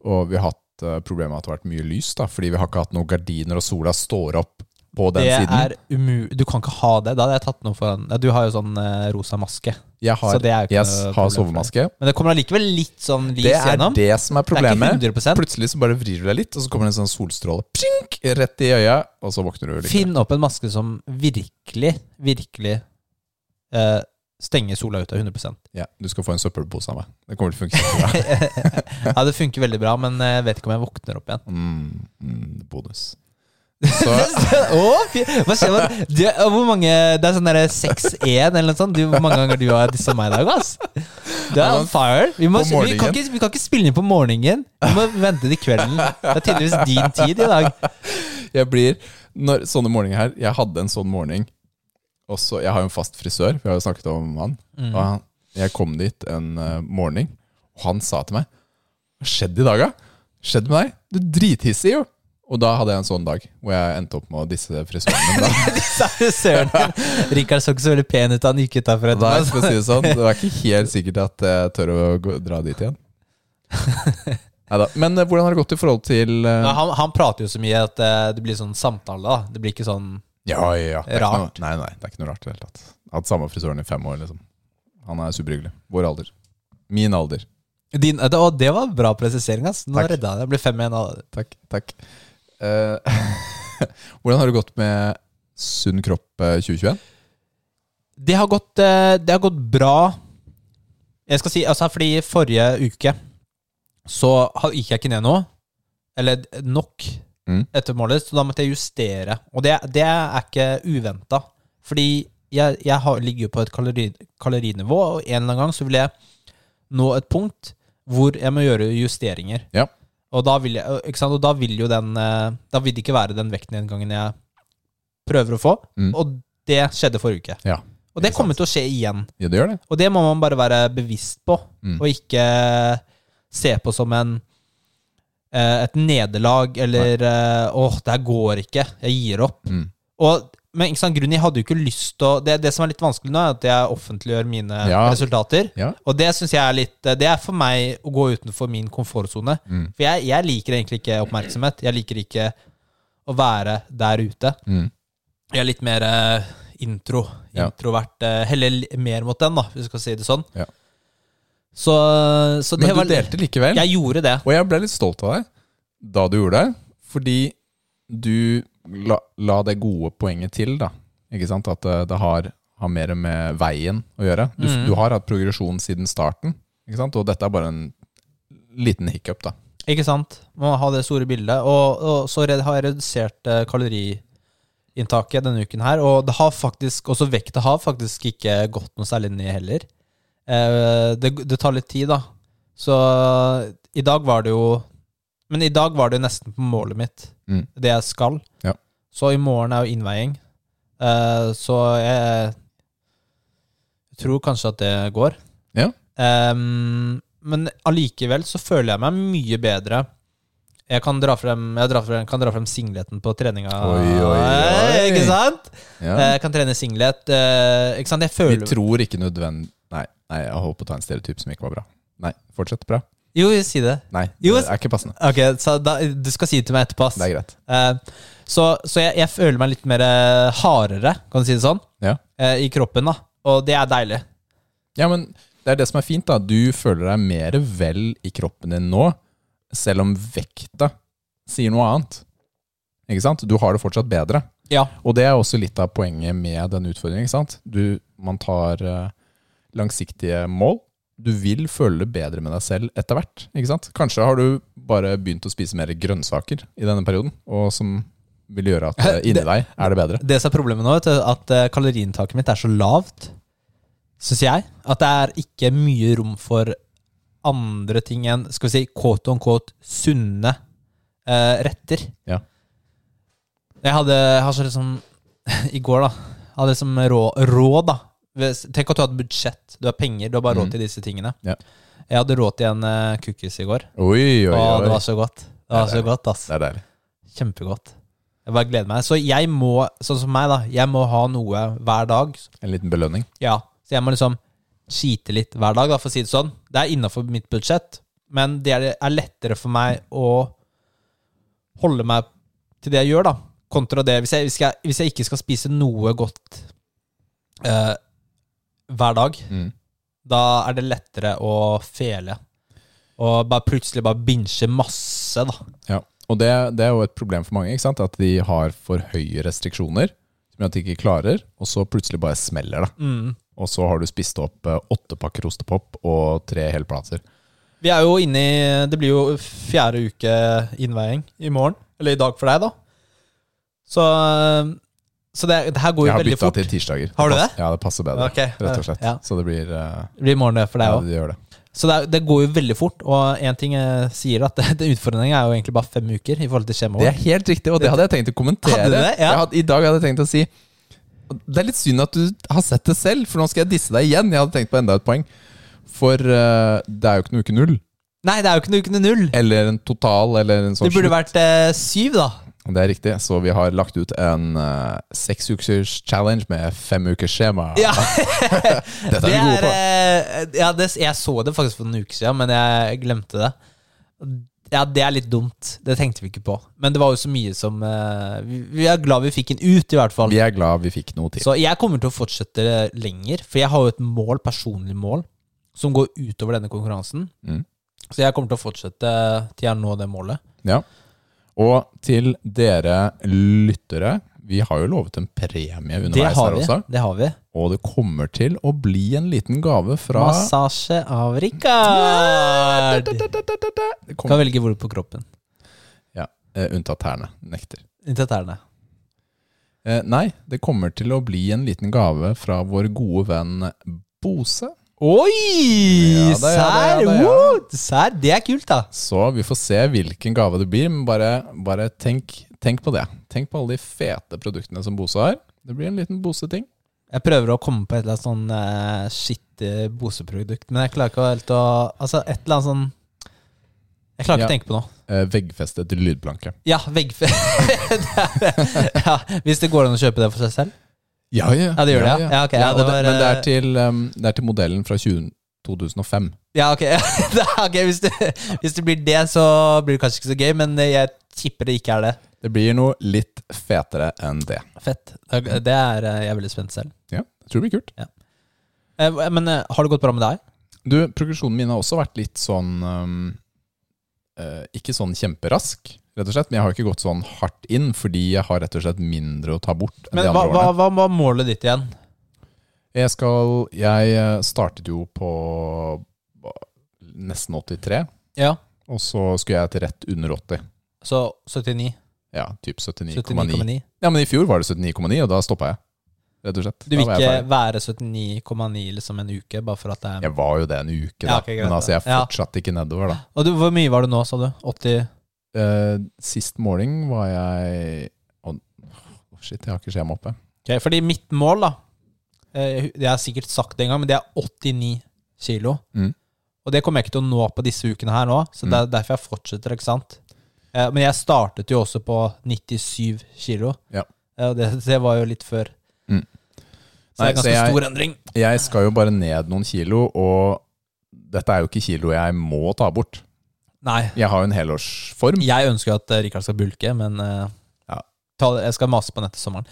Og vi har hatt eh, problemet med at det har vært mye lys, da, fordi vi har ikke hatt noen gardiner, og sola står opp på den
det
siden.
er umulig Du kan ikke ha det. Da hadde jeg tatt noe foran ja, Du har jo sånn eh, rosa maske.
Jeg
så
har,
det er jo ikke
yes,
noe
har
problem for deg.
sovemaske.
Men det kommer allikevel litt sånn lys
Det er
gjennom.
det som er
Det er ikke
problemet.
100
Plutselig så bare vrir du deg litt, og så kommer det en sånn solstråle pjink, rett i øya, og så våkner du. Liksom.
Finn opp en maske som virkelig, virkelig eh, stenger sola ut av 100
Ja, du skal få en søppelpose av meg. Det kommer til å funke kjempebra.
Ja, det funker veldig bra, men eh, jeg vet ikke om jeg våkner opp igjen.
Mm, mm, bonus. Så
Å, fy- hva skjer med du, Hvor mange Det er sånn derre 6-1 eller noe sånt. Du, hvor mange ganger du har dissa meg i dag, ass? Du er on fire. Vi, må,
På
vi, kan ikke, vi kan ikke spille inn på morgenen. Vi må vente til kvelden. Det er tydeligvis din tid i dag.
jeg blir når, Sånne morgener her Jeg hadde en sånn morgen og så- Jeg har jo en fast frisør, vi har jo snakket om han. Og han jeg kom dit en eh, morgen, og han sa til meg Hva skjedde i dag, da? Skjedde med deg? Du er drithissig, jo! Og da hadde jeg en sånn dag, hvor jeg endte opp med å disse frisøren min. Da.
Disse Søren din. Rikard så ikke så veldig pen ut da han gikk utafor
Nei,
etterpå.
for å si det sånn. Det var ikke helt sikkert at jeg tør å gå, dra dit igjen. Neida. Men eh, hvordan har det gått i forhold til eh,
Ja, Han, han prater jo så mye at eh, det blir sånn samtale. da Det blir ikke sånn
Ja, ja, ja. Det er ikke
Rart.
Noe, nei, nei, det er ikke noe rart i det hele tatt. Jeg har hatt samme frisøren i fem år, liksom. Han er superhyggelig. Vår alder. Min alder.
din, det, Og det var bra presisering, ass. Nå
Takk.
redda jeg deg. Det blir fem igjen. av-
Takk. takk. Eh, hvordan har det gått med Sunn kropp eh, 2021?
Det har gått, eh, det har gått bra. Jeg skal si, altså Fordi forrige uke så ha- gikk jeg ikke ned noe. Eller nok
Mm.
etter målet, så da måtte jeg justere. Og det, det er ikke uventa. Fordi jeg, jeg har, ligger jo på et kalori, kalorinivå, og en eller annen gang så vil jeg nå et punkt hvor jeg må gjøre justeringer.
Ja.
Og da vil, jeg, ikke sant? Og da vil jo den eh, Da vil det ikke være den vektnedgangen jeg prøver å få.
Mm.
Og det skjedde forrige uke.
Ja.
Og det
Ikke
kommer til å skje igjen.
Ja, det gjør det.
Og det må man bare være bevisst på,
Mm.
og ikke se på som en eh, et nederlag eller eh, åh, det her går ikke, jeg gir opp.
Mm.
Og, men ikke sant, grunnen, jeg hadde jo ikke lyst til å det, det som er litt vanskelig nå, er at jeg offentliggjør mine
Ja.
resultater.
Ja.
Og det synes jeg er litt eh, Det er for meg å gå utenfor min komfortsone.
Mm.
For jeg, jeg liker egentlig ikke oppmerksomhet. Jeg liker ikke å være der ute.
Mm.
Jeg er litt mer eh, intro,
Ja.
introvert. eh, heller li- mer mot den, da, hvis du skal si det sånn.
Ja.
Så, så det
Men
var
du delte likevel.
Jeg gjorde det.
Og jeg ble litt stolt av deg da du gjorde det, fordi du la, la det gode poenget til, da. Ikke sant? At eh, det har, har mer med veien å gjøre. Du,
Mhm.
du har hatt progresjon siden starten, ikke sant? og dette er bare en liten hiccup, da.
Ikke sant? Må ha det store bildet. Og, og så red- har jeg redusert eh, kaloriinntaket denne uken her. Og det har faktisk, også vekta har faktisk ikke gått noe særlig ned heller. Eh, det, det tar litt tid, da. Så i dag var det jo Men i dag var det nesten på målet mitt,
Mm.
det jeg skal.
Ja.
Så i morgen er jo innveiing. Eh, så jeg tror kanskje at det går.
Ja.
Ehm, men allikevel så føler jeg meg mye bedra. Jeg kan dra frem, jeg drar frem, kan dra frem singleten på treninga.
Oi, oi, oi.
Eh, Ikke sant?
Ja.
Eh, Jeg kan trene singlet. eh, Ikke sant? Jeg
Vi
føler
tror ikke nødvendig nei, nei, jeg holdt på å ta en stereotyp som ikke var bra. Nei, fortsett bra.
Jo, si det.
Nei,
Jo,
det er ikke passende.
Ok, så da, Du skal si det til meg etterpå. ass.
Det er greit.
Eh, Så, så jeg, jeg føler meg litt mer eh, hardere, kan du si det sånn,
Ja.
eh, i kroppen. da Og det er deilig.
Ja, men det er det som er fint, da. Du føler deg mer vel i kroppen din nå, selv om vekta sier noe annet. Ikke sant? Du har det fortsatt bedre.
Ja.
Og det er også litt av poenget med den utfordringen. Ikke sant? Du, man tar eh, langsiktige mål. Du vil føle det bedre med deg selv etter hvert. Ikke sant? Kanskje har du bare begynt å spise mer grønnsaker i denne perioden, og som vil gjøre at eh, inni
Det-
deg er det bedre.
Det som er problemet nå, vet du, at eh, kaloriinntaket mitt er så lavt, syns jeg, at det er ikke mye rom for andre ting enn skal vi si, quote on quote sunne eh, retter.
Ja.
Jeg hadde jeg har så liksom I går, da. Jeg hadde liksom råd, råd da. Hvis- Tenk at du har et budsjett. Du har penger. Du har bare
Mm.
råd til disse tingene.
Ja.
Jeg hadde råd til en eh, cookies i går.
Oi, oi,
Å, det
oi.
var så godt. Det var
Det er
så godt, ass.
Det er deilig.
Kjempegodt. Jeg bare gleder meg. Så jeg må, sånn som meg, da, jeg må ha noe hver dag.
En liten belønning.
Ja. Så jeg må liksom skite litt hver dag, da, for å si det sånn. Det er innafor mitt budsjett, men det er er lettere for meg å holde meg til det jeg gjør, da, kontra det hvis jeg, hvis jeg, hvis jeg ikke skal spise noe godt eh, hver dag.
Mm.
Da er det lettere å fele. Og bare plutselig bare binche masse, da.
Ja, og det, det er jo et problem for mange, ikke sant? At de har for høye restriksjoner, som gjør at de ikke klarer, og så plutselig bare smeller det.
Mm.
Og så har du spist opp eh, åtte pakker ostepop og tre hele plater.
Vi er jo inne i Det blir jo fjerde uke innveiing i morgen. Eller i dag for deg, da. Så, så det, det her går
Jeg
jo
har
veldig
bytta
fort.
til tirsdager.
Har du
pass-
det?
Ja, det passer bedre,
Ok,
rett og slett.
ja.
Så det blir eh,
Det blir i morgen det for deg
Ja,
òg.
det gjør det.
Så det, er- det går jo veldig fort. Og én ting jeg sier, at det, det utfordringen er jo egentlig bare fem uker i forhold til
Det
skjemaet.
er helt riktig, og det hadde jeg tenkt å kommentere.
Hadde du det? Ja.
Jeg hadde, I dag hadde jeg tenkt å si Det er litt synd at du har sett det selv, for nå skal jeg disse deg igjen. Jeg hadde tenkt på enda et poeng. For eh, det er jo ikke noe uke null.
Nei, det er jo ikke noe uke til null.
Eller en total, eller en sånn
Det burde vært eh, syv, da.
Det er riktig, så vi har lagt ut en uh, seks ukers challenge med fem ukers skjema.
Ja,
Dette
det
er vi gode
er,
på.
eh, ja det, jeg så det faktisk for noen uker siden, men jeg glemte det. Ja, det er litt dumt. Det tenkte vi ikke på. Men det var jo så mye som eh, Vi, vi er glad vi fikk den ut, i hvert fall.
Vi er glad vi fikk noe til.
Så jeg kommer til å fortsette eh, lenger, for jeg har jo et mål, personlig mål, som går utover denne konkurransen.
Mm.
Så jeg kommer til å fortsette til jeg når det målet.
Ja. Og til dere lyttere, vi har jo lovet en premie
Det
underveis
har
her
vi.
også.
Det har vi.
Og det kommer til å bli en liten gave fra
Massasje av Rikard.
Det
Du kan
kommer-
velge hvor på kroppen.
eh, unntatt herrene. Nekter.
Inntil tærne.
Eh, nei, det kommer til å bli en liten gave fra vår gode venn Bose.
Oi!
Ja da, ja da, ja
Sær!
da, ja.
woo! Sær, det er kult, da.
Så vi får se hvilken gave det blir, men bare, bare tenk, tenk på det. Tenk på alle de fete produktene som Bose har. Det blir en liten Bose-ting.
Jeg prøver å komme på et eller annet sånn uh, skitt eh, boseprodukt, men jeg klarer ikke å helt å Altså, et eller annet sånn Jeg klarer ikke
Ja.
å tenke på noe.
Eh, veggfestet veggfestet til
Ja, veggfe... Det er- ja, hvis det går an å kjøpe det for seg selv?
Ja, ja.
Ja, det gjør det, ja. Ja, ok, ja,
og
det
det-
var,
men
eh,
det er, til, um, det er til modellen fra 20, 2005.
Ja, ok. Det er ok, hvis, det, hvis det blir det, så blir det kanskje ikke så gøy, men jeg tipper det ikke er det.
Det blir noe litt fetere enn det.
Fett. Det er, det er eh, jeg er veldig spent selv.
Ja, jeg tror det blir kult.
Eh, Men eh, har det gått bra med deg?
Du, progresjonen min har også vært litt sånn um, eh, Ikke sånn kjemperask, rett og slett. Men jeg har ikke gått sånn hardt inn, fordi jeg har rett og slett mindre å ta bort enn
Men
de
hva,
andre
hva,
årene.
hva var målet ditt igjen?
Jeg skal Jeg eh, startet jo på nesten 83,
Ja,
og så skulle jeg til rett under 80.
så 79.
Ja, typ 79,9.
79,9.
Ja, men i fjor var det 79,9, og da stoppa jeg. Rett og slett.
Du eh, vil
Da var jeg
ikke
ferdig.
være 79,9 liksom en uke, bare for at det er
Jeg var jo det en uke, da.
Ja, ok, greit,
men altså, jeg
da. Ja.
fortsatte ikke nedover, da.
Og du, hvor mye var det nå, sa du? 80?
Eh, sist måling var jeg Å, å, shit, jeg har ikke skjema oppe.
Ok, fordi mitt mål, da eh, Det har jeg sikkert sagt det en gang, men det er 89 kilo.
Mm.
Og det kommer jeg ikke til å nå på disse ukene her nå, så det er derfor jeg fortsetter, ikke sant? Eh, Men jeg startet jo også på 97 kilo,
Ja.
Eh, og det, det var jo litt før.
Mm.
Så det
Nei,
er ganske
så jeg-
stor endring.
Jeg skal jo bare ned noen kilo, og dette er jo ikke kilo jeg må ta bort.
Nei,
Jeg har jo en helårsform.
jeg ønsker jo at eh, Rikard skal bulke, men eh,
Ja.
ta, det- jeg skal mase på den etter sommeren.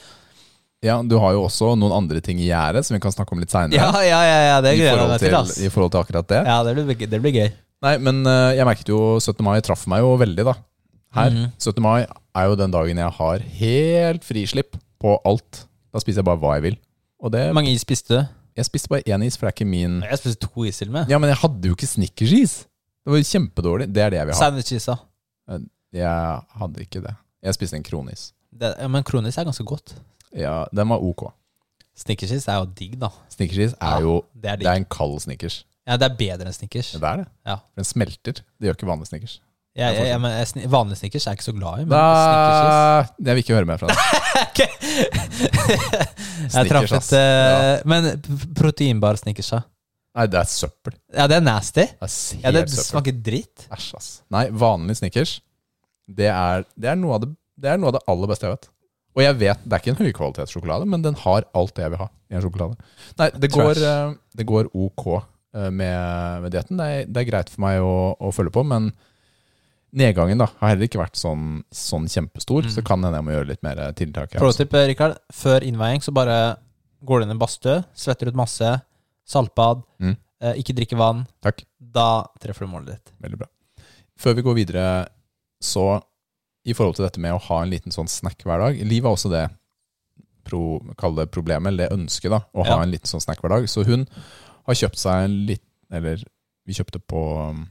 Ja, Du har jo også noen andre ting i gjerdet som vi kan snakke om litt
Ja,
seinere.
ja, ja, ja det
I,
gleder jeg
forhold
meg til, ass.
til- I forhold til akkurat det.
Ja, det blir, det blir gøy.
Nei, men eh, jeg merket jo 17. mai traff meg jo veldig, da. Her.
Mhm.
17. mai er jo den dagen jeg har helt frislipp på alt. Da spiser jeg bare hva jeg vil. Og det
Hvor mange is spiste du?
Jeg spiste bare én is, for det er ikke min
Jeg spiste to is til og med.
Mm. Ja, men jeg hadde jo ikke snickersis! Det var jo kjempedårlig. Det er det jeg vil ha.
Sandwich-isa.
Jeg hadde ikke det. Jeg spiste en kronis.
Det, ja, men kronis er ganske godt.
Ja, den var ok.
Snickersis er jo digg, da.
Snickersis er jo
Det er
Det
digg.
er en kald snickers.
Ja, det er bedre enn snickers.
Ja, Det er det.
Ja.
Den smelter. Det gjør ikke vanlig snickers.
Jeg, jeg,
forskjell.
jeg, men jeg, sni- vanlig snickers er jeg ikke så glad i, men snickersis
Da, jeg vil ikke høre mer fra deg.
Jeg traff
Snickers, ass.
et eh, Men p- proteinbar snickers, ja.
Nei, det er søppel.
Ja, det er nasty.
Det er
Ja,
helt
det
søppel.
smaker dritt.
Æsj, ass. Nei, vanlig snickers, det er, det, er noe av det, det er noe av det aller beste jeg vet. Og jeg vet, det er ikke en høykvalitetssjokolade, men den har alt det jeg vil ha i en sjokolade. Nei, det går,
Trash.
eh, det går ok eh, med, med dietten. Det, er- det er greit for meg å, å følge på, men nedgangen da, har heller ikke vært sånn, sånn
Mm.
kjempestor, så kan hende jeg må gjøre litt mer tiltak. her,
Pro
altså.
tip, Rikard. Før innveiing så bare går du inn i en badstue, svetter ut masse, saltbad,
Mm.
eh, ikke drikke vann.
Takk.
Da treffer du målet ditt.
Veldig bra. Før vi går videre, så i forhold til dette med å ha en liten sånn snack hver dag Liv har også det pro, kall det problemet, eller det ønsket, da, å ha
Ja.
en liten sånn snack hver dag. Så hun har kjøpt seg en litt Eller vi kjøpte på um,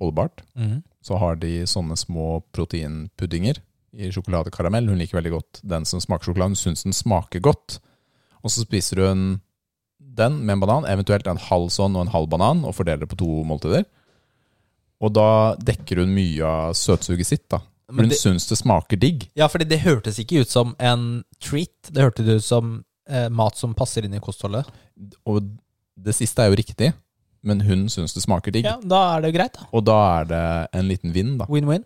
Holdbart.
Mhm.
Så har de sånne små proteinpuddinger i sjokoladekaramell. Hun liker veldig godt den som smaker sjokolade. Hun syns den smaker godt. Og så spiser hun den med en banan, eventuelt en halv sånn og en halv banan, og fordeler det på to måltider. Og da dekker hun mye av søtsuget sitt, da. For
Men
Hun
det-
syns det smaker digg.
Ja, fordi det hørtes ikke ut som en treat. Det hørtes ut som eh, mat som passer inn i kostholdet.
Og det siste er jo riktig, men hun syns det smaker digg.
Ja, da er det jo greit, da.
Og da er det en liten vinn, da.
Win-win.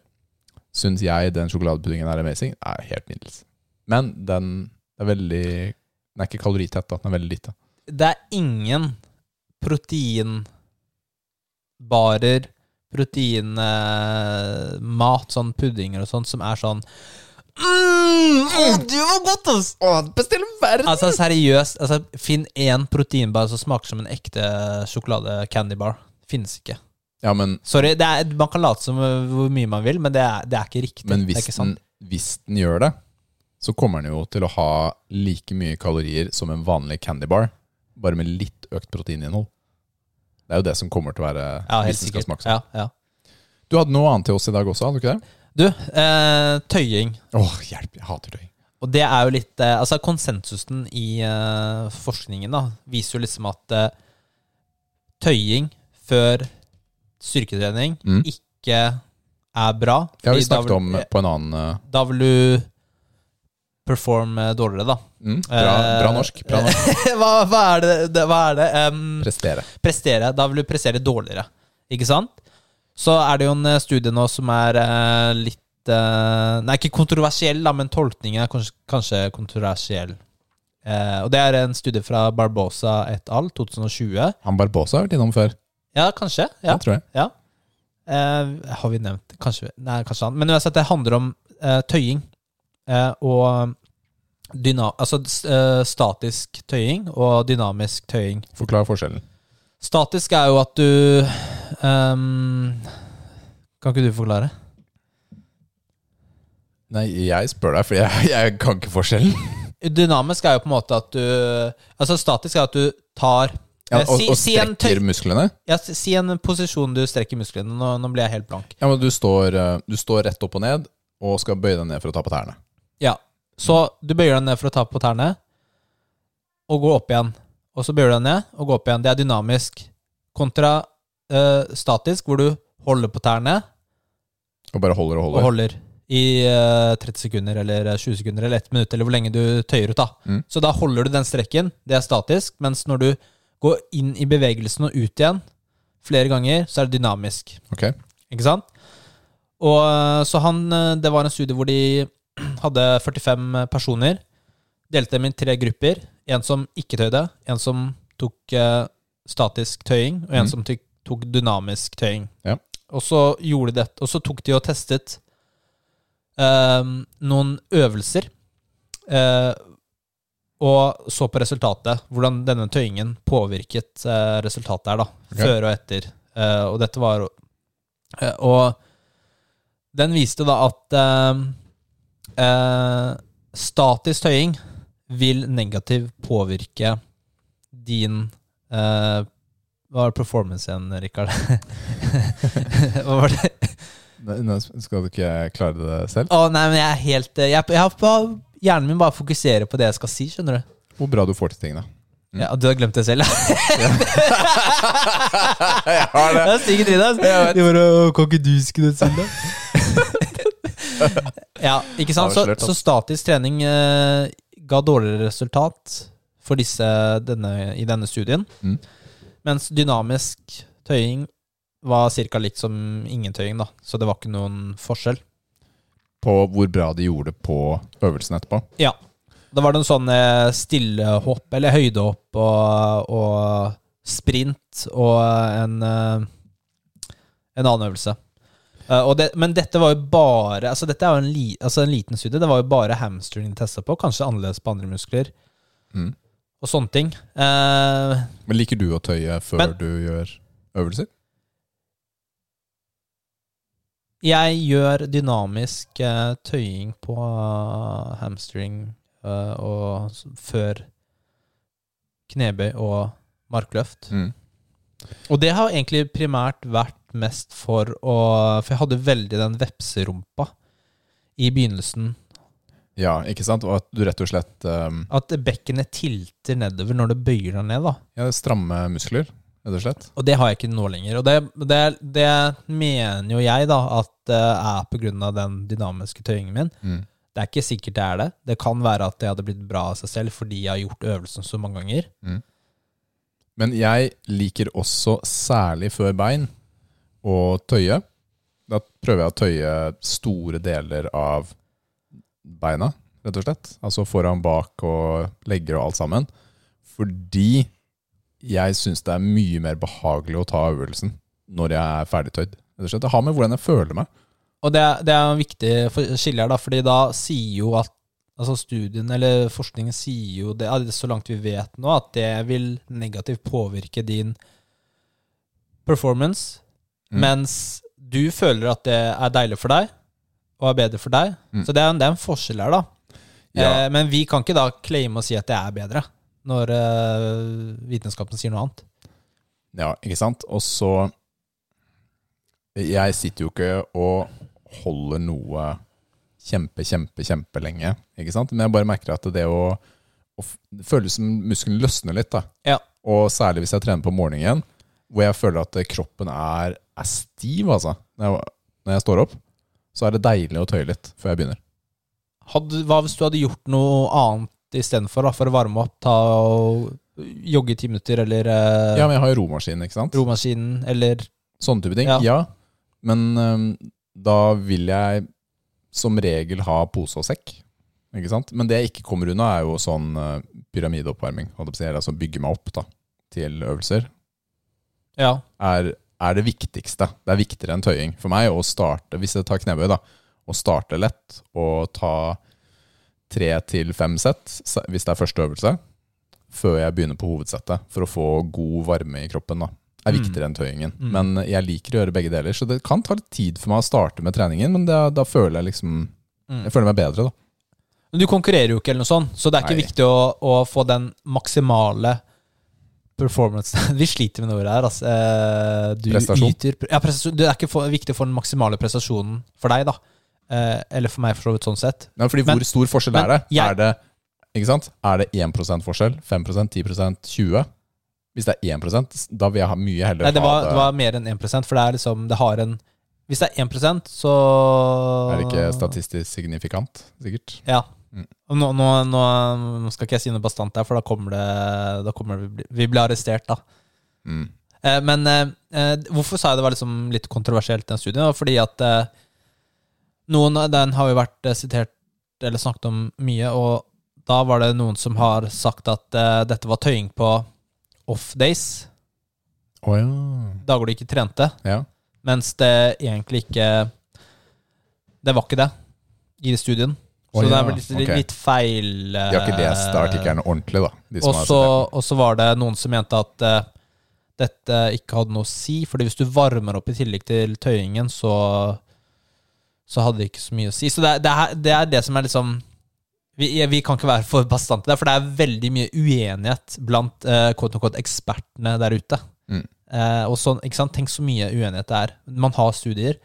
Syns jeg den sjokoladepuddingen er amazing? Er helt middels. Men den er veldig Den er ikke kaloritett, da. Den er veldig lite.
det er ingen proteinbarer, proteinmat, sånn puddinger og sånn, som er sånn mm, å, det var godt, ass!
Bestill verden!
Altså seriøst, altså, finn én proteinbar som smaker som en ekte sjokolade-candybar. Finnes ikke.
Ja, men,
Sorry, det er, man kan late som øh, hvor mye man vil, men det er, det er ikke riktig.
men
det er
hvis,
ikke
den,
sant.
hvis den gjør det, så kommer den jo til å ha like mye kalorier som en vanlig candy bar, bare med litt økt proteininnhold. Det er jo det som kommer til å være
Ja, helt
hvis den skal
sikkert.
smake sånn.
Ja, ja.
Du hadde noe annet til oss i dag også, hadde du ikke det?
Du, eh, tøying.
Åh, hjelp, jeg hater tøy.
Og det er jo litt eh, Altså, konsensusen i eh, forskningen da, viser jo liksom at eh, tøying før styrketrening
Mm.
ikke er bra.
Det har vi
fordi da
snakket
vil-
om på en annen eh,
Da vil du performe dårligere, da.
mm, bra, bra
Eh,
norsk. Bra norsk.
hva, hva er det, det, hva er det? Em,
Prestere.
prestere, da vil du prestere dårligere. Ikke sant? Så er det jo en eh, studie nå som er eh, litt eh, Nei, ikke kontroversiell, da, men tolkningen er kanskje, kanskje kontroversiell. Eh, og det er en studie fra Barbosa et al. 2020.
Han Barbosa har vært innom før.
Ja, kanskje.
Ja.
Ja.
tror jeg.
Eh, har vi nevnt Kanskje Nei, kanskje han. Men uansett, det handler om eh, tøying eh, og dyna... Altså s- eh, statisk tøying og dynamisk tøying.
Forklar forskjellen.
Statisk er jo at du ehm, Kan ikke du forklare?
Nei, jeg spør deg, for jeg, jeg kan ikke forskjellen.
Dynamisk er jo på en måte at du Altså statisk er at du tar
Ja,
eh,
og,
si,
og
si, en
strekker
tøy-
musklene.
ja, si- si en posisjon du strekker musklene. Nå, nå blir jeg helt blank.
Ja, men du står, eh, du står rett opp og ned, og skal bøye deg ned for å ta på tærne.
Ja. Så du bøyer deg ned for å ta på tærne, og går opp igjen. Og så bøyer du deg ned og går opp igjen. Det er dynamisk. Kontra eh, statisk, hvor du holder på tærne
Og bare holder og
og
holder.
holder i eh, 30 sekunder eller 20 sekunder eller 1 minutt, eller hvor lenge du tøyer ut. da.
Mm.
Så da holder du den strekken, det er statisk, mens når du går inn i bevegelsen og ut igjen flere ganger, så er det dynamisk.
Ok.
Ikke sant? Og eh, så han, eh, det var en studie hvor de hadde 45 personer, delte dem i tre grupper, en som ikke tøyde, en som tok eh, statisk tøying, og en
Mm.
som tok, tok dynamisk tøying.
Ja.
Og så gjorde de dette, og så tok de og testet eh, noen øvelser, eh, og så på resultatet, hvordan denne tøyingen påvirket eh, resultatet her da,
Ok.
før og etter. Eh, og dette var Eh, Og den viste da at eh, eh, statisk tøying vil negativt påvirke din eh, Hva var performance igjen, Rikard? hva var det?
Nei, nå Skal du ikke klare det selv?
Å, nei, men jeg er helt eh, jeg, jeg, har bare- Hjernen min bare fokuserer på det jeg skal si, skjønner du.
Hvor bra du får til tingene. Mm.
Ja, du har glemt det selv, ja.
Jeg har
Det er stygge trynet. ass.
Jeg vet.
altså. De bare «Å, Kan ikke du huske det selv, da? ja, ikke sant? Så,
Avslørt, ass.
så statisk trening eh, ga dårligere resultat for disse denne, i denne studien.
Mm.
Mens dynamisk tøying var ca. likt som ingen tøying, da. Så det var ikke noen forskjell.
På hvor bra de gjorde det på øvelsen etterpå.
Ja. Da var det en sånn eh, stillehopp, eller høydehopp og, og sprint og en, eh, en annen øvelse. Eh, Og det, men dette var jo bare Altså dette er jo en, li, altså en liten studie. Det var jo bare hamstring de testa på. Kanskje annerledes på andre muskler
Mm.
og sånne ting. Eh,
Men liker du å tøye før
Men-
du gjør øvelser?
Jeg gjør dynamisk eh, tøying på eh, hamstring eh, og s- før knebøy og markløft.
Mm.
Og det har egentlig primært vært mest for å For jeg hadde veldig den vepserumpa i begynnelsen.
Ja, ikke sant? Og at du rett og slett um,
At bekkenet tilter nedover når du bøyer deg ned. da
ja, stramme muskler, rett og slett.
Og det har jeg ikke nå lenger. Og det, det, det mener jo jeg da at eh, er på grunn av den dynamiske tøyingen min.
Mm.
Det er ikke sikkert det er det. Det kan være at det hadde blitt bra av seg selv fordi jeg har gjort øvelsen så mange ganger.
Men jeg liker også, særlig før bein, å tøye. Da prøver jeg å tøye store deler av beina, rett og slett. Altså foran, bak og legger og alt sammen. Fordi jeg syns det er mye mer behagelig å ta øvelsen når jeg er ferdigtøyd. Rett og slett. Det har med hvordan jeg føler meg.
Og det, er- det er en viktig for- skille her, da, fordi da sier jo at altså studien eller forskningen sier jo det, ja, det er så langt vi vet nå, at det vil negativt påvirke din performance,
Mm.
mens du føler at det er deilig for deg, og er bedre for deg.
Mm.
Så det er, en- det er en forskjell her, da.
Ja.
Eh, men vi kan ikke da claime og si at det er bedre, når eh, vitenskapen sier noe annet.
Ja, ikke sant? Og så Jeg sitter jo ikke og holder noe kjempe, kjempe, kjempelenge. Ikke sant? Men jeg bare merker at det å, å f- Det føles som muskelen løsner litt. da.
Ja.
Og særlig hvis jeg trener på morgenen, hvor jeg føler at kroppen er, er stiv, altså. Når jeg, når jeg står opp, så er det deilig å tøye litt før jeg begynner.
Hadde, hva hvis du hadde gjort noe annet istedenfor, da, for å varme opp? Ta og jogge i ti minutter, eller eh,
Ja, men jeg har jo romaskinen, ikke sant?
romaskinen, eller
Sånne type ting.
Ja.
Ja. Men øhm, da vil jeg som regel ha pose og sekk. Ikke sant? Men det jeg ikke kommer unna, er jo sånn øh, pyramideoppvarming. holdt jeg på å si, Eller altså bygge meg opp da, til øvelser.
Ja.
er, er det viktigste. Det er viktigere enn tøying for meg å starte, hvis jeg tar knebøy, da, å starte lett og ta tre til fem sett, se- hvis det er første øvelse, før jeg begynner på hovedsettet, for å få god varme i kroppen. da. er
Mm.
viktigere enn tøyingen.
Mm.
Men jeg liker å gjøre begge deler, så det kan ta litt tid for meg å starte med treningen, men da, da føler jeg liksom
Mm.
Jeg føler meg bedre, da.
Men du konkurrerer jo ikke, eller noe sånt, så det er ikke
Nei.
viktig å, å få den maksimale performance Vi sliter med det ordet her, altså. Eh, Du
Prestasjon.
Yter, ja, prestasjon. Det er ikke for, viktig å få den maksimale prestasjonen for deg, da. Eh, Eller for meg, for så vidt, sånn sett.
Ja, fordi
Men-
hvor stor forskjell
men
er det?
jeg-
Er det ikke sant? Er det 1 forskjell? 5 10 20 Hvis det er 1 da vil jeg ha mye heller
Nei, det var,
ha
det var mer enn 1 for det er liksom Det har en Hvis det er 1 så
Er det ikke statistisk signifikant, sikkert?
Ja.
Mm.
Og Nå, nå, nå, nå skal ikke jeg si noe bastant der, for da kommer det Da kommer det, vi blir- vi blir arrestert, da.
Mm.
Eh, Men eh, eh, hvorfor sa jeg det var liksom litt kontroversielt, den studien? Det var Fordi at eh, noen av den har jo vært eh, sitert eller snakket om mye, og da var det noen som har sagt at eh, dette var tøying på off days,
Å ja.
dager du ikke trente,
ja.
mens det egentlig ikke Det var ikke det i studien. Så
Å
det
ja,
er vel litt,
ok.
litt feil eh,
De har ikke lest artikkelen ordentlig, da. De som
Og
har
så,
sett
og så var det noen som mente at eh, dette ikke hadde noe å si, fordi hvis du varmer opp i tillegg til tøyingen, så, så hadde det ikke så mye å si. Så det, er- det, er, det er det som er liksom vi, jeg- vi kan ikke være for bastante der, for det er veldig mye uenighet blant eh, quote unquote, ekspertene der ute.
Mm.
Eh, og sånn, ikke sant? Tenk så mye uenighet det er. Man har studier,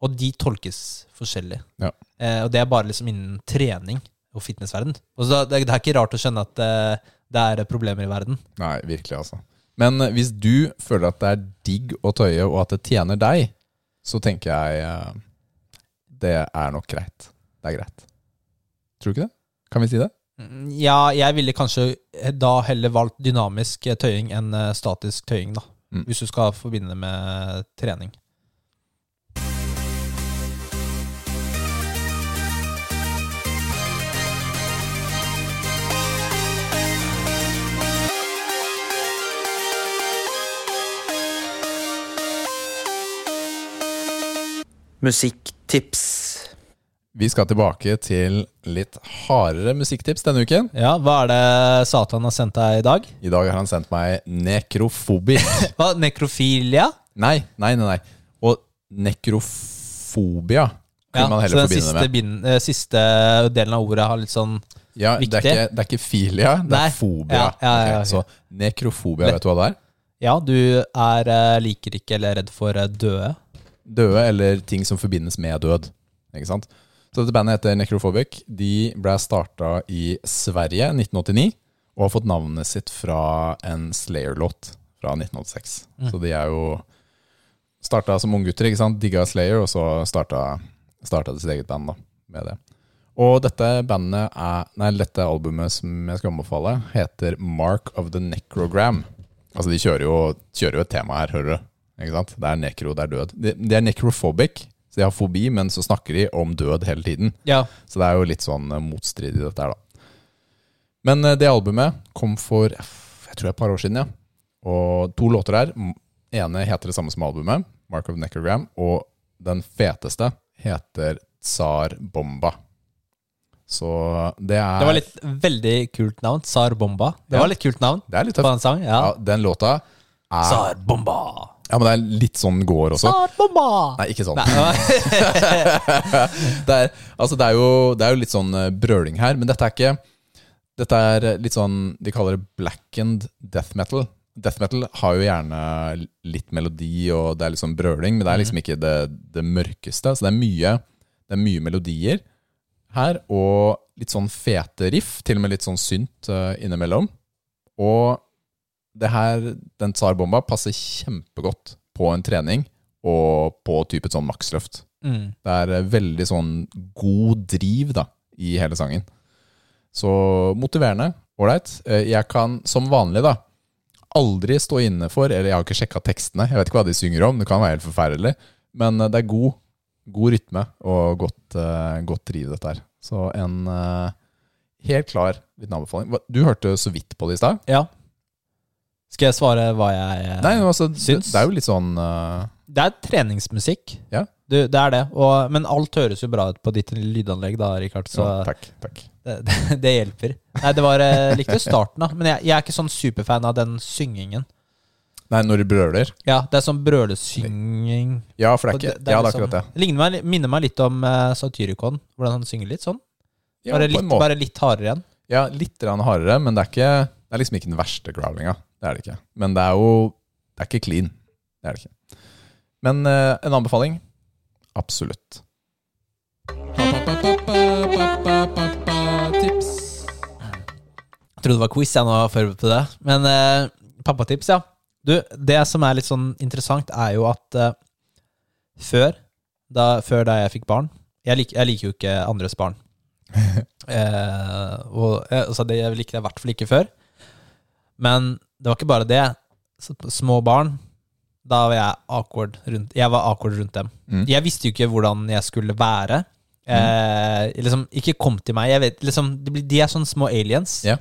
og de tolkes forskjellig.
Ja.
Eh, og det er bare liksom innen trening og fitnessverden. Og så det, det er ikke rart å skjønne at eh, det er problemer i verden.
det. Nei, virkelig, altså. Men eh, hvis du føler at det er digg å tøye, og at det tjener deg, så tenker jeg eh, det er nok greit. Det er greit. Tror du ikke det? Kan vi si det?
Mm, Ja, jeg ville kanskje eh, da heller valgt dynamisk eh, tøying enn eh, statisk tøying, da.
Mm.
Hvis du skal forbinde det med eh, trening.
Musikktips.
Vi skal tilbake til litt hardere musikktips denne uken.
Ja, hva er det Satan har sendt deg i dag?
I dag har han sendt meg nekrofobi.
Hva, nekrofilia?
nei, nei, nei, nei. Og nekrofobia kunne
Ja,
man
så
heller
den
forbinde
siste,
med.
bind- eh, siste delen av ordet har litt sånn
Ja, det, er
viktig.
ikke, det er ikke filia, det
Nei.
er fobia.
Ja, ja, ja,
Ok,
ja,
Så nekrofobia, vet du hva det er?
Ja, du er, eh, liker ikke eller er redd for eh, døde.
Døde eller ting som forbindes med død. Ikke sant? Så dette bandet heter Necrophobic. De ble starta i Sverige 1989 og har fått navnet sitt fra en Slayer-låt fra 1986. Så de er jo starta som unggutter, ikke sant? digga Slayer, og så starta, starta de sitt eget band da, med det. Og dette bandet er, nei, dette albumet som jeg skal anbefale, heter Mark of the Necrogram. Altså, de kjører jo, kjører jo et tema her, hører du. Ikke sant? Det er nekro, det er død. De, de er necrophobic, så de har fobi, men så snakker de om død hele tiden.
Ja.
Så det er jo litt sånn eh, motstrid i dette her, da. Men eh, det albumet kom for f- jeg tror det er et par år siden, ja. Og to låter her. M- ene heter det samme som albumet, Mark of Necrogram, og den feteste heter Tsar Bomba. Så det er
Det var litt veldig kult navn. Tsar Bomba. Det
Ja.
var litt kult navn
det er litt
på
tøft.
en sang.
Ja,
Ja.
den låta er
Tsar Bomba.
Ja, men det er litt sånn går også.
Tsar Bomba.
Nei, ikke sånn.
Nei.
det, er, altså det, er jo, det er jo litt sånn eh, brøling her, men dette er ikke Dette er litt sånn De kaller det blackened death metal. Death metal har jo gjerne litt melodi, og det er liksom brøling, men det er liksom ikke det, det mørkeste. Så det er, mye, det er mye melodier her, og litt sånn fete riff, til og med litt sånn synt eh, innimellom. Og det her, den tsarbomba passer kjempegodt på en trening og på type et sånn maksløft.
Mm.
Det er eh, veldig sånn god driv da, i hele sangen. Så motiverende, ålreit. Eh, Jeg kan som vanlig da, aldri stå inne for, eller jeg har ikke sjekka tekstene, jeg vet ikke hva de synger om, det kan være helt forferdelig, men eh, det er god, god rytme og godt, eh, godt driv dette her. Så en eh, helt klar liten anbefaling. Hva- Du hørte så vidt på det i stad?
Ja. Skal jeg svare hva jeg
Nei, men altså, det,
syns-
det er jo litt sånn eh,
Det er treningsmusikk.
Ja.
Du, det er det. Og, men alt høres jo bra ut på ditt lydanlegg, da, Richard. Så
ja, Takk, takk.
det, det, det hjelper. Nei, det var eh, likte starten, da. Men jeg, jeg er ikke sånn superfan av den syngingen.
Nei, når du brøler?
Ja, det er sånn brølesynging.
Ja, for det
Og
er ikke
det- det er
Ja, det er
liksom-
akkurat det.
ligner meg, minner meg litt om uh, Satyricon, hvordan han synger litt sånn.
Ja,
Bare,
på en
litt,
måte.
bare litt hardere igjen.
Ja, litt grann hardere, men det er, ikke, det er liksom ikke den verste growlinga. Det er det ikke. Men det er jo Det er ikke clean. Det er det ikke. Men eh, en anbefaling? Absolutt. Tips.
Jeg trodde det var quiz, jeg nå var forberedt på det. Men eh, pappatips, ja. Du, det som er litt sånn interessant, er jo at eh, før, da, før da jeg fikk barn jeg, lik, jeg liker jo ikke andres barn. eh, og, eh, altså det jeg likte jeg i hvert fall ikke før. Men det var ikke bare det. Så, små barn, da var jeg awkward rundt, jeg var awkward rundt dem.
Mm.
Jeg visste jo ikke hvordan jeg skulle være. Eh, liksom, ikke kom til meg. Jeg vet, liksom, de, blir- de er sånne små aliens.
Ja.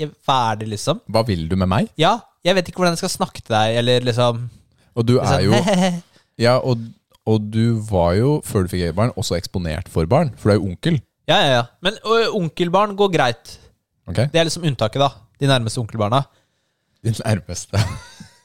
Jeg, hva er det, liksom?
Hva vil du med meg?
Ja, jeg vet ikke hvordan jeg skal snakke til deg, eller liksom,
Og du er jo
liksom
Ja, og, og du var jo, før du fikk eget barn, også eksponert for barn. For du er jo onkel.
Ja, ja, ja. Men ø, onkelbarn går greit.
Ok?
Det er liksom unntaket, da. De nærmeste onkelbarna.
Din nærmeste.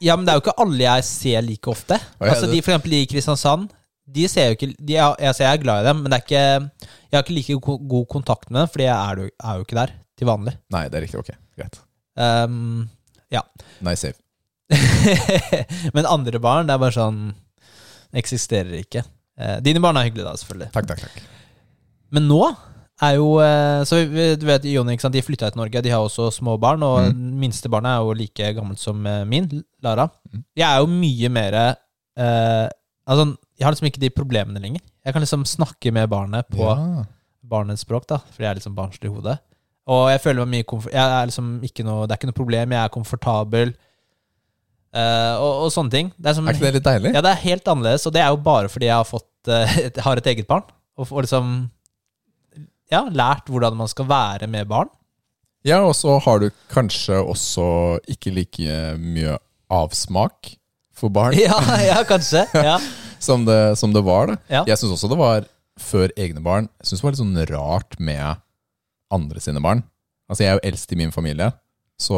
Ja, men det er jo ikke alle jeg ser like ofte.
Å, ja,
altså,
det-
de for eksempel i Kristiansand, de ser jo ikke de, er- altså, Jeg er glad i dem, men det er ikke, jeg har ikke like go- god kontakt med dem, fordi jeg er, jo- er jo ikke der til vanlig.
Nei, det er riktig. Ok, greit.
Ehm, ja.
Nice save.
men andre barn, det er bare sånn Eksisterer ikke. Eh, dine barn er hyggelige, da, selvfølgelig.
Takk, takk, takk.
Men nå er jo eh, Så vi- vi- du vet, Jonny, ikke sant? de flytta til Norge. De har også små barn, og minste barnet er jo like gammelt som eh, min, Lara. Jeg er jo mye mer eh, Altså, jeg har liksom ikke de problemene lenger. Jeg kan liksom snakke med barnet på
Ja.
barnets språk, da, fordi jeg er liksom barnslig i hodet. Og jeg føler meg mye komfort... Jeg er liksom ikke noe, det er ikke noe problem, jeg er komfortabel, eh, og, og sånne ting. Det er, som,
Er ikke det litt deilig?
ja, det er helt annerledes, og det er jo bare fordi jeg har, fått, eh, et, har et eget barn. Og, og liksom ja, lært hvordan man skal være med barn.
Ja, og så har du kanskje også ikke like mye avsmak for barn
Ja, ja kanskje. Ja.
som, det, som det var. Da.
Ja.
Jeg syns også det var før egne barn. Jeg synes det var litt sånn rart med andre sine barn. Altså, jeg er jo eldst i min familie, så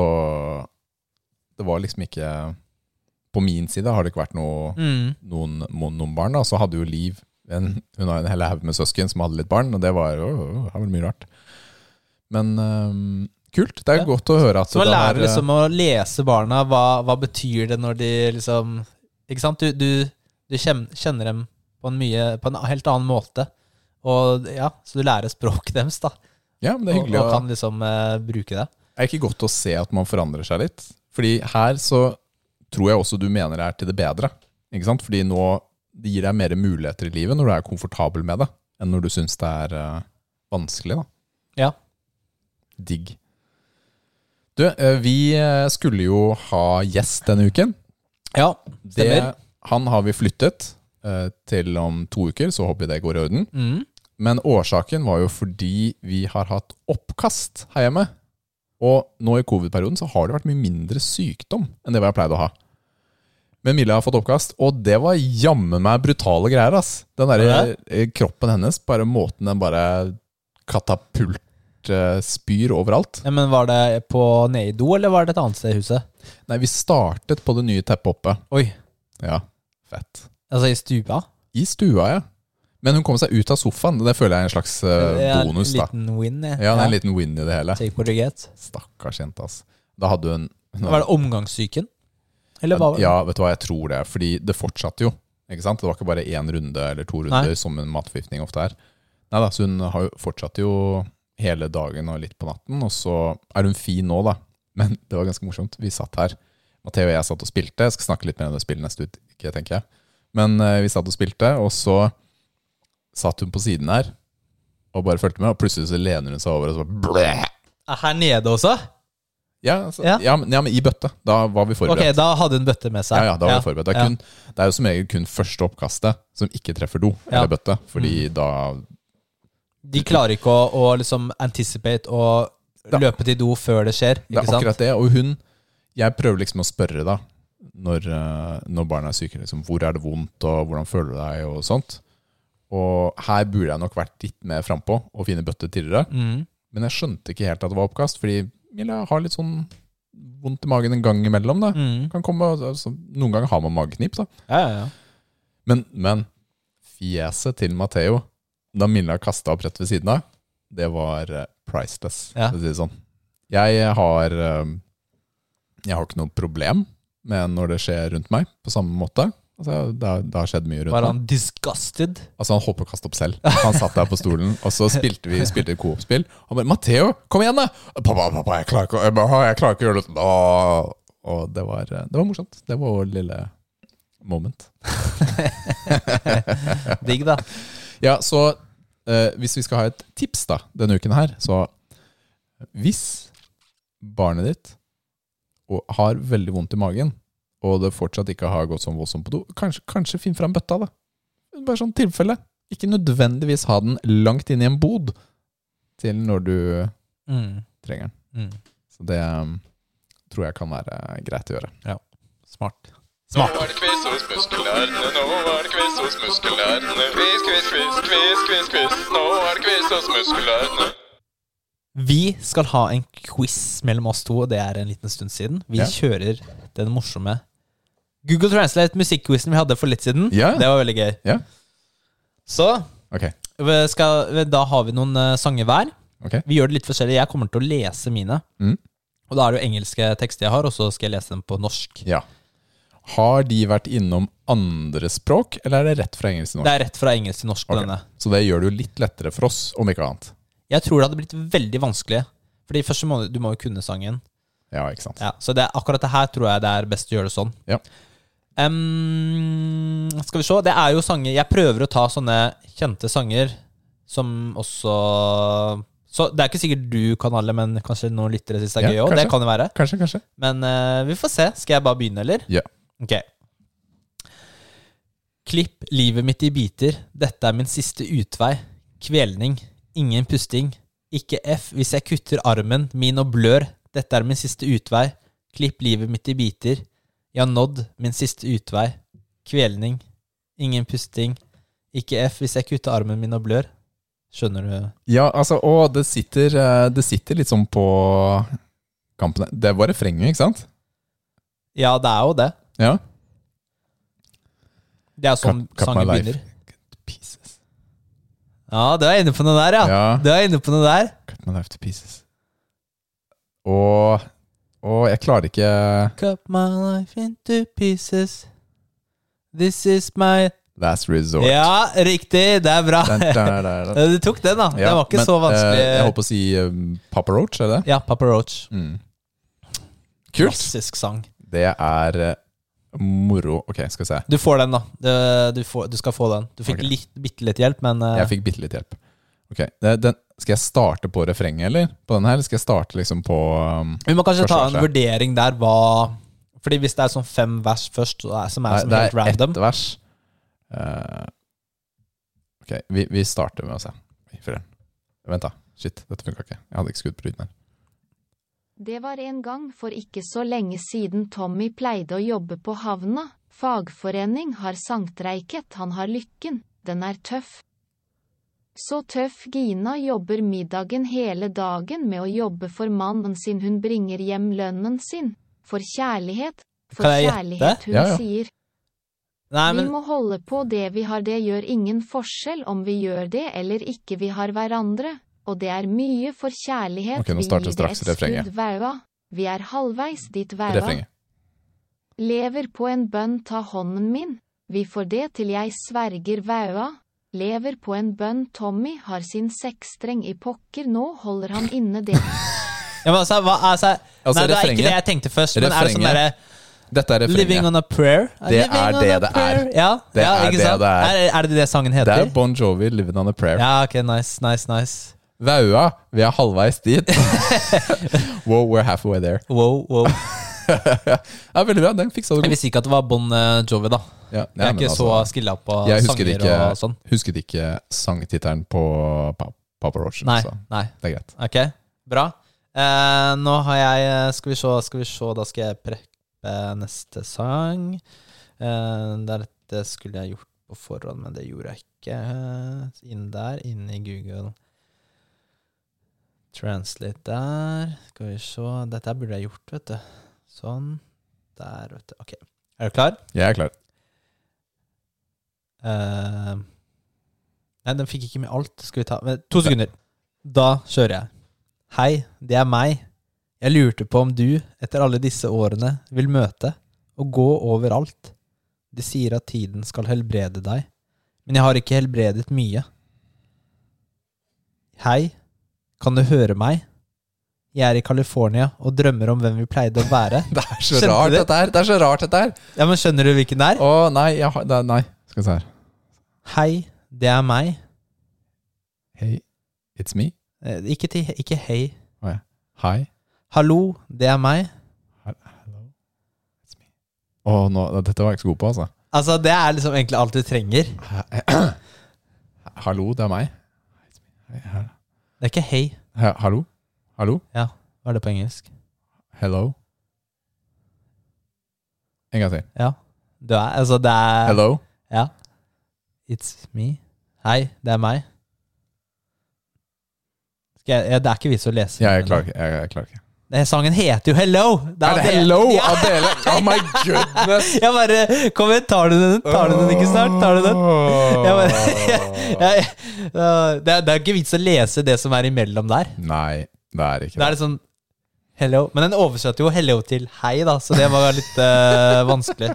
det var liksom ikke På min side har det ikke vært noe,
Mm.
noen, noen, noen barn. Da. Så hadde jo Liv en, Hun har en hel haug med søsken som hadde litt barn, og det var, øh, øh, her var det mye rart. Men øhm, kult. Det er
Ja.
godt å høre at
Så man
det eh, har-
lærer liksom å lese barna. Hva, hva betyr det når de liksom Ikke sant? Du, du, du kjem- kjenner dem på en, mye, på en helt annen måte. Og ja, Så du lærer språket deres, da.
Ja, men det er
Og,
hyggelig.
og
å-
kan liksom eh, bruke det.
Er det ikke godt å se at man forandrer seg litt? Fordi her så tror jeg også du mener det er til det bedre. Ikke sant? Fordi nå det gir deg mer muligheter i livet når du er komfortabel med det, enn når du syns det er eh, vanskelig. da.
Ja.
Digg. Du, eh, vi eh, skulle jo ha gjest denne uken.
Ja,
Det,
stemmer.
han har vi flyttet eh, til om to uker, så håper vi det går i orden.
Mm.
Men årsaken var jo fordi vi har hatt oppkast her hjemme. Og nå i covid-perioden så har det vært mye mindre sykdom enn det vi har pleid å ha. Men Mille har fått oppkast, og det var jammen meg brutale greier. ass. Den der, eh, kroppen hennes, bare måten den bare katapult eh, spyr overalt.
Ja, men Var det på nede i do, eller var det et annet sted i huset?
Nei, vi startet på det nye teppet oppe.
Oi.
Ja, fett.
Altså i stua?
I stua, ja. Men hun kom seg ut av sofaen. Det føler jeg er en slags eh,
Det er
bonus. da.
En liten win, jeg.
Ja, det er en liten win i det hele.
Take what you get.
Stakkars jente, ass. Da hadde hun
Var det omgangssyken? Eller hva var det?
Ja, vet du hva, jeg tror det. Fordi det fortsatte jo. ikke sant? Det var ikke bare én runde eller to runder, som en matforgiftning ofte er. Nei da, så hun har jo fortsatt jo hele dagen og litt på natten, og så er hun fin nå, da. Men det var ganske morsomt. Vi satt her. Matheo og jeg satt og spilte. Jeg skal snakke litt mer om det spillet neste uke, tenker jeg. Men eh, vi satt og spilte, og så satt hun på siden her og bare fulgte med, og plutselig så lener hun seg over og så bare blæh!
Er Eh, Her nede også?
Ja, altså, ja.
Ja.
men, ja, men i bøtte. Da var vi
Ok,
forberedt.
da hadde hun bøtte med seg.
Ja, ja, da var vi forberedt. Det er, kun, det er jo som regel kun første oppkastet som ikke treffer do
Ja. Mm.
eller bøtte, fordi da
De klarer ikke å, å liksom anticipate og
Da-
løpe til do før det skjer.
Det
Ikke
er
sant?
akkurat det. Og hun Jeg prøver liksom å spørre, da, når, eh, når barna er syke, liksom hvor er det vondt, og hvordan føler du deg, og sånt. Og her burde jeg nok vært litt mer frampå og finne bøtte tidligere.
Mm.
Men jeg skjønte ikke helt at det var oppkast, fordi Milla har litt sånn vondt i magen en gang imellom. da.
Mm.
Kan komme, altså, noen ganger har man mageknip, da.
Ja, ja, ja.
Men, men fjeset til Matheo da Milla kasta opp rett ved siden av, det var eh, priceless,
Ja.
for å si det sånn. Jeg har eh, Jeg har ikke noe problem med når det skjer rundt meg, på samme måte. Altså, det, har, det har skjedd mye rundt
Var
meg.
han disgusted?
Altså, han holdt på å kaste opp selv. Han satt der på stolen, og så spilte vi spilte et co-op-spill. Han bare 'Matheo, kom igjen, da!' 'Pappa, pappa, jeg klarer ikke, å- jeg bare, jeg klarer ikke å gjøre det.' sånn." Åh. Og det var, eh, det var morsomt. Det var vår lille moment.
Digg, da.
Ja, så eh, hvis vi skal ha et tips da, denne uken her, så hvis barnet ditt og har veldig vondt i magen, og det fortsatt ikke har gått sånn voldsomt på do, kanskje, kanskje finn fram bøtta da. Bare sånn tilfelle. Ikke nødvendigvis ha den langt inn i en bod til når du
Mm.
trenger den.
Mm.
Så det um, tror jeg kan være eh, greit å gjøre.
Smart.
Nå er det quiz hos muskelnerdene, nå er det quiz hos muskelnerdene. Quiz, quiz, quiz, quiz, quiz, quiz. Nå er det quiz hos muskelnerdene.
Vi skal ha en quiz mellom oss to, og det er en liten stund siden. Vi
Ja.
kjører den morsomme Google Translate musikkquizen vi hadde for litt siden.
Ja.
Det var veldig gøy.
Ja.
Så
Ok,
vi skal, da har vi noen eh, sanger hver.
ok.
Vi gjør det litt forskjellig. Jeg kommer til å lese mine.
Mm.
Og da er det jo engelske tekster jeg har, og så skal jeg lese dem på norsk.
Ja. Har de vært innom andre språk, eller er det rett fra engelsk til norsk?
Det er rett fra engelsk til norsk på
Ok.
denne.
Så det gjør det jo litt lettere for oss, om ikke annet.
Jeg tror det hadde blitt veldig vanskelig. Fordi først så må du, du må jo kunne sangen.
Ja, ikke sant?
Ja, så det, akkurat det her tror jeg det er best å gjøre det sånn.
Ja.
Em, skal vi se. Det er jo sanger Jeg prøver å ta sånne kjente sanger som også Så det er ikke sikkert du kan alle, men kanskje noen lyttere syns det er
Ja,
gøy òg. Det
kanskje.
kan jo være.
Kanskje, kanskje.
Men eh, vi får se. Skal jeg bare begynne, eller?
Ja.
Ok. Klipp livet mitt i biter. Dette er min siste utvei. Kvelning. Ingen pusting. Ikke F hvis jeg kutter armen min og blør. Dette er min siste utvei. Klipp livet mitt i biter. Jeg har nådd min siste utvei. Kvelning. Ingen pusting. Ikke F hvis jeg kutter armen min og blør. Skjønner du?
Ja, altså, og det sitter, eh, det sitter litt sånn på kampene. Det var refrenget, ikke sant?
Ja, det er jo det.
Ja.
Det er sånn
Cut- cut my
sangen
life.
begynner.
To pieces.
Ja, du er inne på noe der, ja.
Ja.
Du er inne på noe der.
Cut my life to pieces. Og, og jeg klarer ikke
Cut my life into pieces. This is my
Last resort.
Ja, riktig! Det er bra.
Den, der, der, der.
Du tok den, da. det
Ja,
var ikke
men,
så vanskelig.
eh, jeg holdt på å si eh, Papa Roach, er det det?
Ja, Papa Roach.
Mm. Kult.
Klassisk sang.
Det er eh, moro. Ok, skal vi se.
Du får den, da. Du, du, får, du skal få den. Du fikk
Ok.
litt, bitte litt hjelp, men eh,
Jeg fikk bitte litt hjelp. Ok, det- den, Skal jeg starte på refrenget, eller? På denne her? Eller skal jeg starte liksom på um,
vi må kanskje ta en
Forsvarsverk.
vurdering der hva Fordi hvis det er sånn fem vers først, så er, som er
Nei,
som
det
helt
er
random
ett vers. Eh, ok, vi, vi starter med å se. Oi, fyren. Vent, da. Shit, dette funka ikke. Jeg hadde ikke skudd på lyden her.
Det var en gang for ikke så lenge siden Tommy pleide å jobbe på havna. Fagforening har sanktreiket, han har lykken, den er tøff. Så tøff Gina jobber middagen hele dagen med å jobbe for mannen sin hun bringer hjem lønnen sin. For kjærlighet, for
Kan jeg gjette?
kjærlighet hun
Ja, ja.
sier.
Nei, men
Vi må holde på det vi har, det gjør ingen forskjell om vi gjør det eller ikke vi har hverandre, og det er mye for kjærlighet
Ok, nå
vi
starter
gir det
straks
et skudd
refrenget.
væua. Vi er halvveis dit væua.
Refrenget.
Lever på en bønn ta hånden min, vi får det til jeg sverger vaua. Lever på en bønn Tommy har sin seksstreng i pokker, nå holder han inne det.
Ja, men altså, hva, altså,
Altså,
nei, det er
refrenget-
ikke det jeg tenkte først, men er det sånn
refrenget-
derre
Dette er
Living
refrenget.
on a prayer?
Det
Living
er
on
det
a
det er.
prayer. Ja,
Det
ja,
er
ikke
det
sant?
det er.
er. Er det det sangen
Det
heter?
er Bon Jovi, 'Living on a Prayer'.
ja, ok, nice, nice, nice.
Vaua, vi er halvveis dit. wow, we're halfway there.
Wow, wow.
Ja, veldig bra, den fiksa du
Jeg
godt.
visste ikke at det var Bon eh, Jovi, da.
Ja,
Jeg
ja,
er
men
ikke så
altså,
skilla på
jeg husket
sanger
ikke,
og sånn.
husket ikke sangtittelen på Pa- Papa Roach.
Nei,
Så
nei.
det er greit.
Ok, bra. Eh, nå har jeg eh, Skal vi se, skal vi se da skal jeg preppe neste sang. Eh, dette skulle jeg gjort på forhånd, men det gjorde jeg ikke. Eh, Inn der, inn i Google. Translate der. Skal vi se. Dette burde jeg gjort, vet du. Sånn. Der, vet du. Ok. Er du klar?
Jeg er klar.
Eh, nei, den fikk ikke med alt. Skal vi ta men, To sekunder. Da kjører jeg. Hei, det er meg. Jeg lurte på om du, etter alle disse årene, vil møte og gå overalt. De sier at tiden skal helbrede deg, men jeg har ikke helbredet mye. Hei, kan du høre meg? Jeg er i California og drømmer om hvem vi pleide å være.
Det er så
Skjønte
rart,
du?
dette her! Det er så rart, dette her!
Ja, men Skjønner du hvilken det er?
Å, nei, jeg har det er- Nei, skal vi se her.
Hei, det er meg.
Hey, it's me.
Eh, Ikke, til, ikke hei.
Å, ja. Hi.
Hallo, det er meg.
Hello. It's me. Å, nå, dette var jeg ikke så god på, altså.
Altså, det er liksom egentlig alt du trenger.
Hallo, det er meg. It's me. Hei, her.
Det er ikke hei.
He- Hallo? Hallo?
Ja, hva er det på engelsk?
Hello? En gang til.
Ja. Du er, altså det er
Hello?
Ja. It's me. Hei, det er meg. Skal jeg, ja, det er ikke vits å lese.
Ja, jeg klarer ikke. Jeg, jeg klarer ikke.
Nei, Sangen heter jo Hello! Det
Er det
Adele.
hello,
Ja,
Adele? Oh my goodness!
jeg bare Kommer, tar du den? Tar du den ikke snart? Tar du den? Jeg bare, jeg, øh, det, er, det er ikke vits å lese det som er imellom der.
Nei, det er ikke
Da
det.
er det sånn Hello. Men den oversatte jo 'hello' til 'hei', da, så det var litt eh, vanskelig.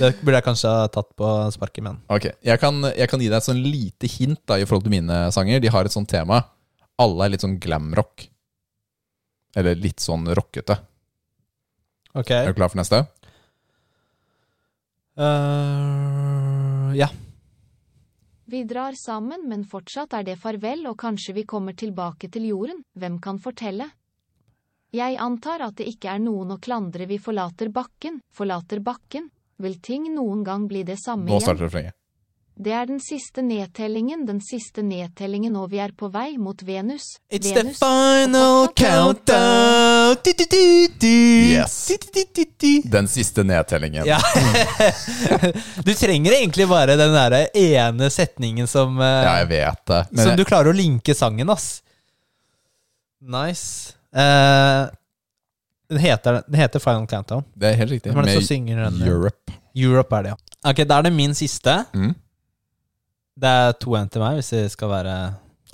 Det burde jeg kanskje ha tatt på sparket, men
Ok, jeg kan, jeg kan gi deg et sånn lite hint da, i forhold til mine sanger. De har et sånt tema. Alle er litt sånn glamrock. Eller litt sånn rockete.
ok.
Er du klar for neste?
Eh, ja.
Vi drar sammen, men fortsatt er det farvel og kanskje vi kommer tilbake til jorden, hvem kan fortelle? Jeg antar at det ikke er noen å klandre vi forlater bakken, forlater bakken, vil ting noen gang bli det samme
Nå
igjen?
starter refrenget.
Det er den siste nedtellingen, den siste nedtellingen, og vi er på vei mot Venus.
It's the
Venus.
final countdown. Du, du, du, du.
Yes.
Du, du, du, du, du.
Den siste nedtellingen.
Ja. Du trenger egentlig bare den der ene setningen som, eh,
Ja, jeg vet det. Men
som du klarer å linke sangen, ass. Nice. Eh, den, heter, den heter Final Countdown.
det er helt riktig.
Hvem er det som
Med
synger den?
Europe.
Europe er det, ja. Ok, Da er det min siste.
Mm.
Det er to en til meg, hvis det skal være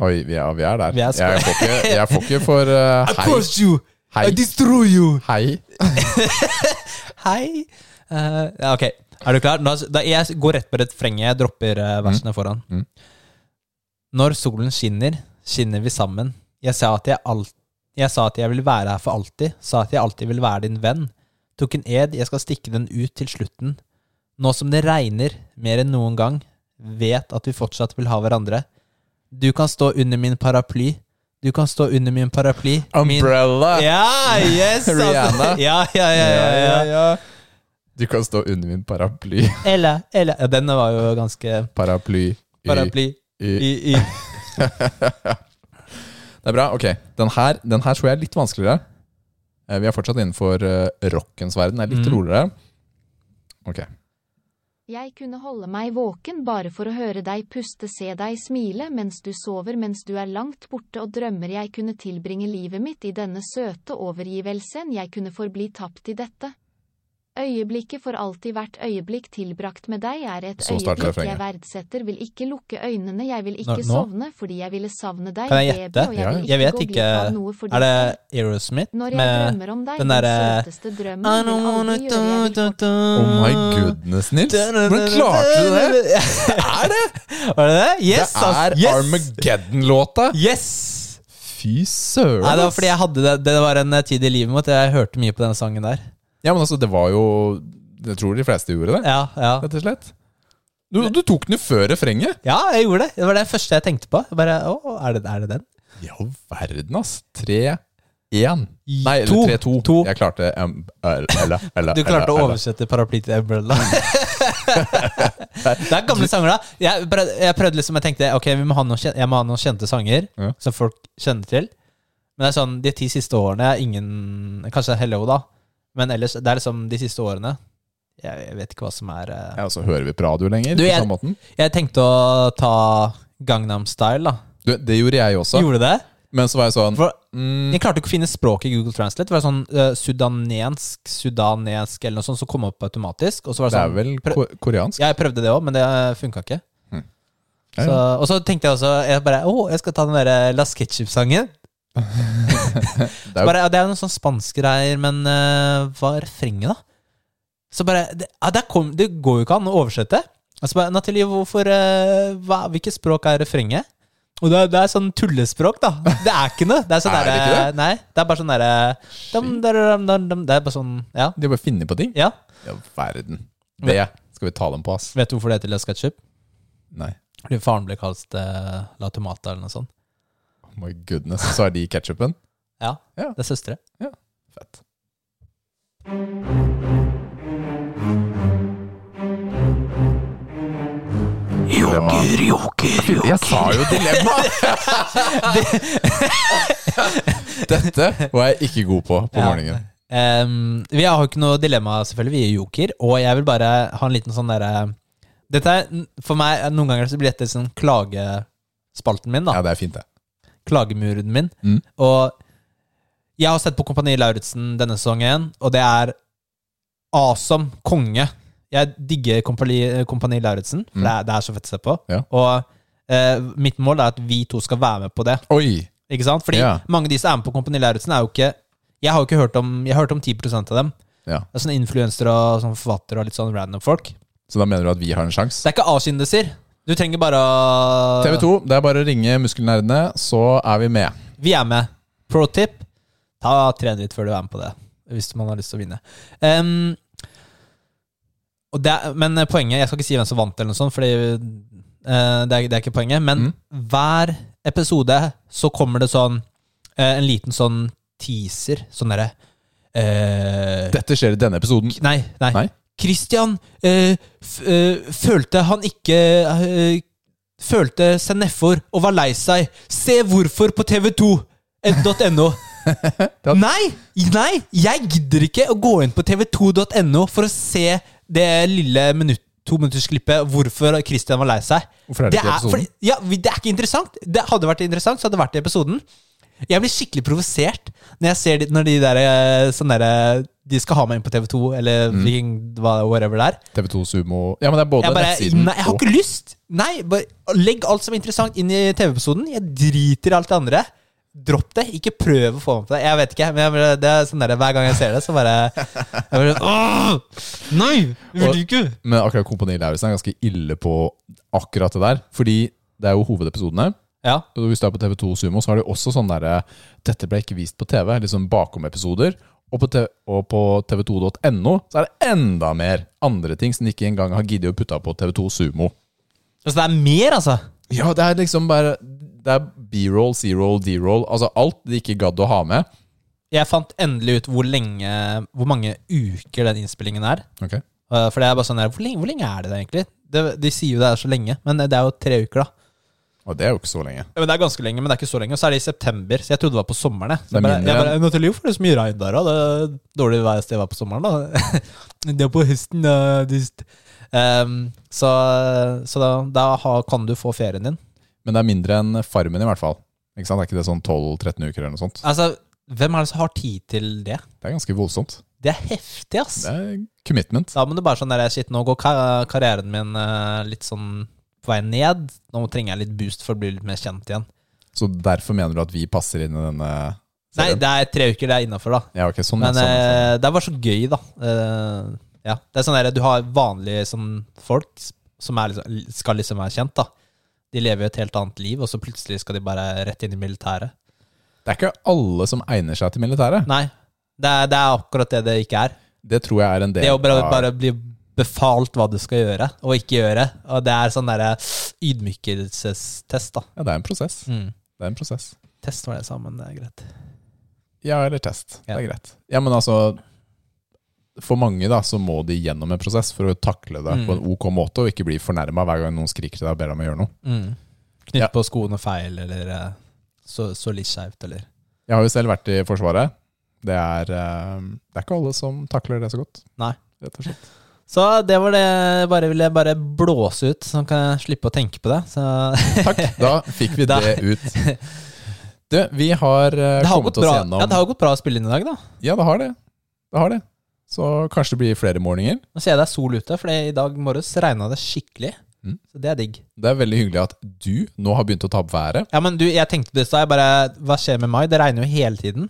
Oi, vi er, vi er der.
Vi er sko-
jeg, får ikke, jeg får ikke for eh, hei.
you!
Hei.
destroy you!
Hei.
Hei! Eh, ja, ok, er du klar? Da, da, jeg går rett på refrenget. Jeg dropper eh, versene foran.
Mm.
Når solen skinner, skinner vi sammen. Jeg sa at jeg, alt, jeg sa at jeg vil være her for alltid. Sa at jeg alltid vil være din venn. Tok en ed, jeg skal stikke den ut til slutten. Nå som det regner mer enn noen gang, vet at vi fortsatt vil ha hverandre. Du kan stå under min paraply. Du kan stå under min paraply. Min
Umbrella.
ja, yes! altså.
Rihanna.
Ja, ja, ja, ja, ja.
Du kan stå under min paraply.
Ella, Ella. Ja, den var jo ganske
Paraply. Y-
Paraply.
y-
I, i.
Det er bra. Ok, den her, den her tror jeg er litt vanskeligere. Eh, Vi er fortsatt innenfor eh, rockens verden. Det er litt
Mm.
roligere. Ok.
Jeg kunne holde meg våken bare for å høre deg puste, se deg smile mens du sover mens du er langt borte og drømmer jeg kunne tilbringe livet mitt i denne søte overgivelsen jeg kunne forbli tapt i dette. Øyeblikket for alltid hvert øyeblikk tilbrakt med deg er et
Så starter
øyeblikk
refrenget.
jeg verdsetter, vil ikke lukke øynene, jeg vil
Nå-
ikke
nå?
sovne fordi jeg ville savne deg,
Kan jeg gjette?
baby, og jeg
Ja,
vil
Jeg vet
gå
ikke
glipp av noe fordi
Er det Aerosmith
Når jeg
med
drømmer om deg,
den
den
derre-
søteste drømmen,
I don't
vil
wanna
aldri gjøre jeg vil
do, do, do.
Oh my goodness, Nils! Hvordan klarte du det?
Det er det! Var det det? Yes,
det er
ass. yes.
Armageddon-låta!
Yes!
Fy søren!
Nei, det var
ass.
fordi jeg hadde det Det var en eh, tid i livet mitt jeg hørte mye på denne sangen der.
Ja, men altså, det var jo Jeg tror de fleste gjorde det,
Ja, ja.
rett og slett. Du, du tok den jo før refrenget!
ja, jeg gjorde det. Det var det første jeg tenkte på. Jeg bare, å, er det, er det den?
Ja, verden, ass! 3-1. Nei,
To.
eller 3-2.
To.
Jeg klarte um, eller, eller, eller,
Du klarte å
eller.
oversette paraply til umbrella. det er gamle sanger, da. Jeg prøvde, jeg prøvde liksom, jeg tenkte ok, vi må ha noen, kjen- jeg må ha noen kjente sanger
Ja.
som folk kjenner til. Men det er sånn, de ti siste årene jeg har ingen Kanskje Hello, da. Men ellers, det er liksom de siste årene. Jeg, jeg vet ikke hva som er eh.
Ja, og så hører vi på radio lenger.
Du,
på
jeg-
samme måten.
Jeg tenkte å ta Gangnam Style, da.
Du, det gjorde jeg også.
Gjorde det?
Men så var jeg sånn
For
mm,
jeg klarte ikke å finne språket i Google Translate. Det var sånn eh, sudanensk, sudanesk eller noe sånt som kom opp automatisk. Og så var
Det
det
er
sånn
vel ko koreansk?
Jeg prøvde det òg, men det funka ikke.
Mm.
Så, og så tenkte jeg også jeg bare, Å, jeg skal ta den der eh, Las Ketchup-sangen.
Det er jo
Bare, ja, Det er jo noen sånn spanske greier, men eh, hva er refrenget, da? Så bare Det, ja, der kom, det går jo ikke an å oversette. Og så bare Natalie, hvorfor eh, hva, Hvilket språk er refrenget? Og det er, det er sånn tullespråk, da. Det er ikke noe. Det er, sånn
Er det
derre-
ikke det?
Nei, det er bare sånn derre dam, dam, dam, dam, Det er bare sånn Ja.
De bare finner på ting.
ja.
Ja, verden. Det skal vi ta dem på, ass.
Vet du hvorfor det heter Las Ketchup?
Nei.
Fordi faren ble kalt eh, La Tomata eller noe sånt.
Oh my goodness. Så er de ketsjupen?
Ja,
Ja.
det er søstre.
Fett. Joker, joker, joker. Jeg sa jo dilemma! Dette var jeg ikke god på på
Ja.
morgenen.
Ehm, vi har jo ikke noe dilemma, selvfølgelig. Vi er joker. Og jeg vil bare ha en liten sånn derre Dette er n- for meg eh, Noen ganger så blir dette sånn klagespalten min, da.
Ja, det er fint, det.
Klagemuren min.
Mm.
Og jeg har sett på Kompani Lauritzen denne sesongen, og det er awesome. Konge. Jeg digger Kompani, Kompani Lauritzen, for
Mm.
det, er, det er så fett å se på.
Ja.
Og eh, mitt mål er at vi to skal være med på det.
Oi!
Ikke sant? Fordi
Ja.
mange av de som er med på Kompani Lauritzen, er jo ikke Jeg har jo ikke hørt om Jeg har hørt om 10 av dem.
Ja.
Det er sånne influensere og sånne forfattere og litt sånn random folk.
Så da mener du at vi har en sjanse?
Så det er ikke A-kjendiser. Du trenger bare å
TV 2, det er bare å ringe muskelnerdene, så er vi med.
Vi er med. Pro tip ta tren litt før du er med på det, hvis man har lyst til å vinne. Ehm, og det er, men poenget Jeg skal ikke si hvem som vant, eller noe sånt, Fordi eh, det, er, det er ikke poenget. Men hver episode så kommer det sånn eh, en liten sånn teaser. Sånn derre eh,
Dette skjer i denne episoden.
Nei, nei.
Nei?
Christian eh, f eh, følte han ikke eh, Følte seg nedfor og var lei seg. Se hvorfor på tv2.no. nei! Nei! Jeg gidder ikke å gå inn på tv2.no for å se det lille minutt, tominuttersklippet hvorfor Christian var lei seg.
Hvorfor er det ikke i episoden?
fordi- ja, vi- det er ikke interessant. Det hadde vært interessant, så hadde det vært i episoden. Jeg blir skikkelig provosert når jeg ser de, når de der, eh, sånn der eh, De skal ha meg inn på TV2 eller
Mm.
Viking, hva- whatever det er.
TV 2 Sumo Ja, men det er både
Jeg bare
nettsiden
Nei, jeg har ikke lyst! Nei, bare legg alt som er interessant inn i TV-episoden. Jeg driter i alt det andre. Dropp det. Ikke prøv å få meg på det. Jeg vet ikke, men jeg, bare- det er sånn der, hver gang jeg ser det, så bare, jeg bare Åh! Nei! Jeg vil ikke!
og, Men akkurat Kompani Lauritzen er ganske ille på akkurat det der. Fordi det er jo hovedepisodene.
Ja.
Og Hvis du er på TV 2 Sumo, så har de også sånn derre Dette ble ikke vist på TV. Liksom bakom-episoder. Og på, te- og på tv2.no så er det enda mer andre ting som de ikke engang har giddet å putte på TV2 Sumo.
Altså, det er mer, altså.
Ja, det er liksom bare Det er B-roll, C-roll, D-roll. Altså alt de ikke gadd å ha med.
Jeg fant endelig ut hvor lenge Hvor mange uker den innspillingen er.
Ok
Eh, For det er bare sånn der, hvor, lenge, hvor lenge er det der egentlig? Det, de sier jo det er så lenge, men det er jo tre uker, da.
Og det er jo ikke så lenge.
Ja, Men Det er ganske lenge, men det er ikke så lenge. Og så er det i september, så jeg trodde det var på sommeren. jeg. Så jeg
Det er
bare,
mindre
jeg bare,
enn-
Nathalie, hvorfor er det så mye regn der, da? Det er dårlig vær sted å være på sommeren, da. det er på høsten, da. dyst. Ehm, så så da, da har, kan du få ferien din.
Men det er mindre enn Farmen, i hvert fall. Ikke sant? Er ikke det sånn 12-13 uker eller noe sånt?
Altså, hvem er det som har tid til det?
Det er ganske voldsomt.
Det er heftig, ass.
Det er commitment.
Da må du bare sånn der, shit, nå går ka- karrieren min eh, litt sånn på vei ned. Nå trenger jeg litt boost for å bli litt mer kjent igjen.
Så derfor mener du at vi passer inn i denne
Nei,
serien?
det er tre uker det er innafor, da.
Ja, ok, sånn, ja,
Men
sånn, sånn.
eh, det er bare så gøy, da. Eh, ja. Det er sånn der, Du har vanlige sånn, folk som er, liksom, skal liksom være kjent, da. De lever jo et helt annet liv, og så plutselig skal de bare rett inn i militæret.
Det er ikke alle som egner seg til militæret.
Nei, det er, det er akkurat det det ikke er.
Det tror jeg er en del
Det å bare,
av-
bare bli befalt hva du skal gjøre, og ikke gjøre. Og det er sånn derre ydmykelsestest, da.
Ja, det er en prosess.
Mm.
Det er en prosess.
Test var det samme, men det er greit.
Ja, eller test.
Ja.
Det er greit. Ja, men altså For mange da, så må de gjennom en prosess for å takle det
Mm.
på en ok måte, og ikke bli fornærma hver gang noen skriker til deg og ber deg om å gjøre noe.
Mm. Knytt
Ja.
på skoene feil, eller eh, så, så litt skjevt, eller
Jeg har jo selv vært i Forsvaret. Det er, eh, det er ikke alle som takler det så godt.
Nei.
Rett og slett.
Så det var det jeg bare ville bare blåse ut, så han kan slippe å tenke på det. Så
Takk, da fikk vi
Da-
det ut. Du, vi har eh,
det har
kommet
gått
oss
bra.
gjennom
Ja, det har gått bra å spille inn i dag, da.
Ja, det har det. Det har det. Så kanskje det blir flere morgener.
Nå ser jeg det er sol ute, for i dag morges regna det skikkelig.
Mm.
Så det er digg.
Det er veldig hyggelig at du nå har begynt å ta opp været.
Ja, men du, jeg tenkte det, så jeg bare Hva skjer med meg? Det regner jo hele tiden.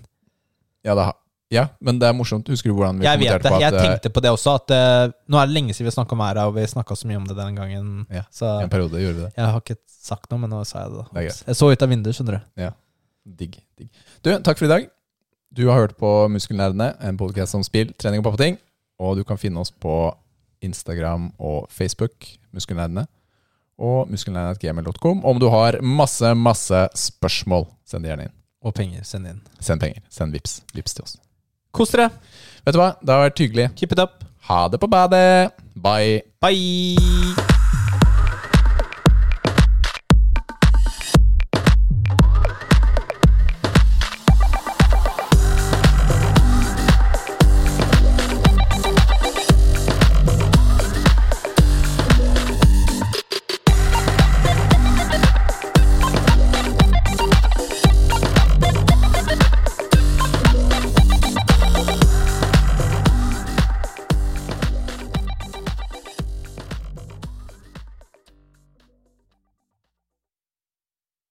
Ja, det har, ja men det er morsomt. Husker du hvordan vi
Jeg vet det.
kommenterte på at
Jeg
eh,
tenkte på det også, at eh, nå er det lenge siden vi snakka om æra, og vi snakka så mye om det den gangen.
Ja,
Så
i en periode gjorde vi det?
jeg har ikke sagt noe, men nå sa jeg det.
Det er
da.
greit.
Jeg så ut av vinduet, skjønner du.
Digg. digg. Du, takk for i dag. Du har hørt på Muskelnerdene, en podkast om spill, trening og pappeting. Og du kan finne oss på Instagram og Facebook, Muskelnerdene. Og muskelnerdene.gmil.com. Om du har masse, masse spørsmål, send det gjerne inn.
Og penger, send inn.
Send penger. Send vips. Vips til oss.
Kos dere.
Vet du hva? Det har vært hyggelig.
Keep it up.
Ha det på badet. Bye.
Bye.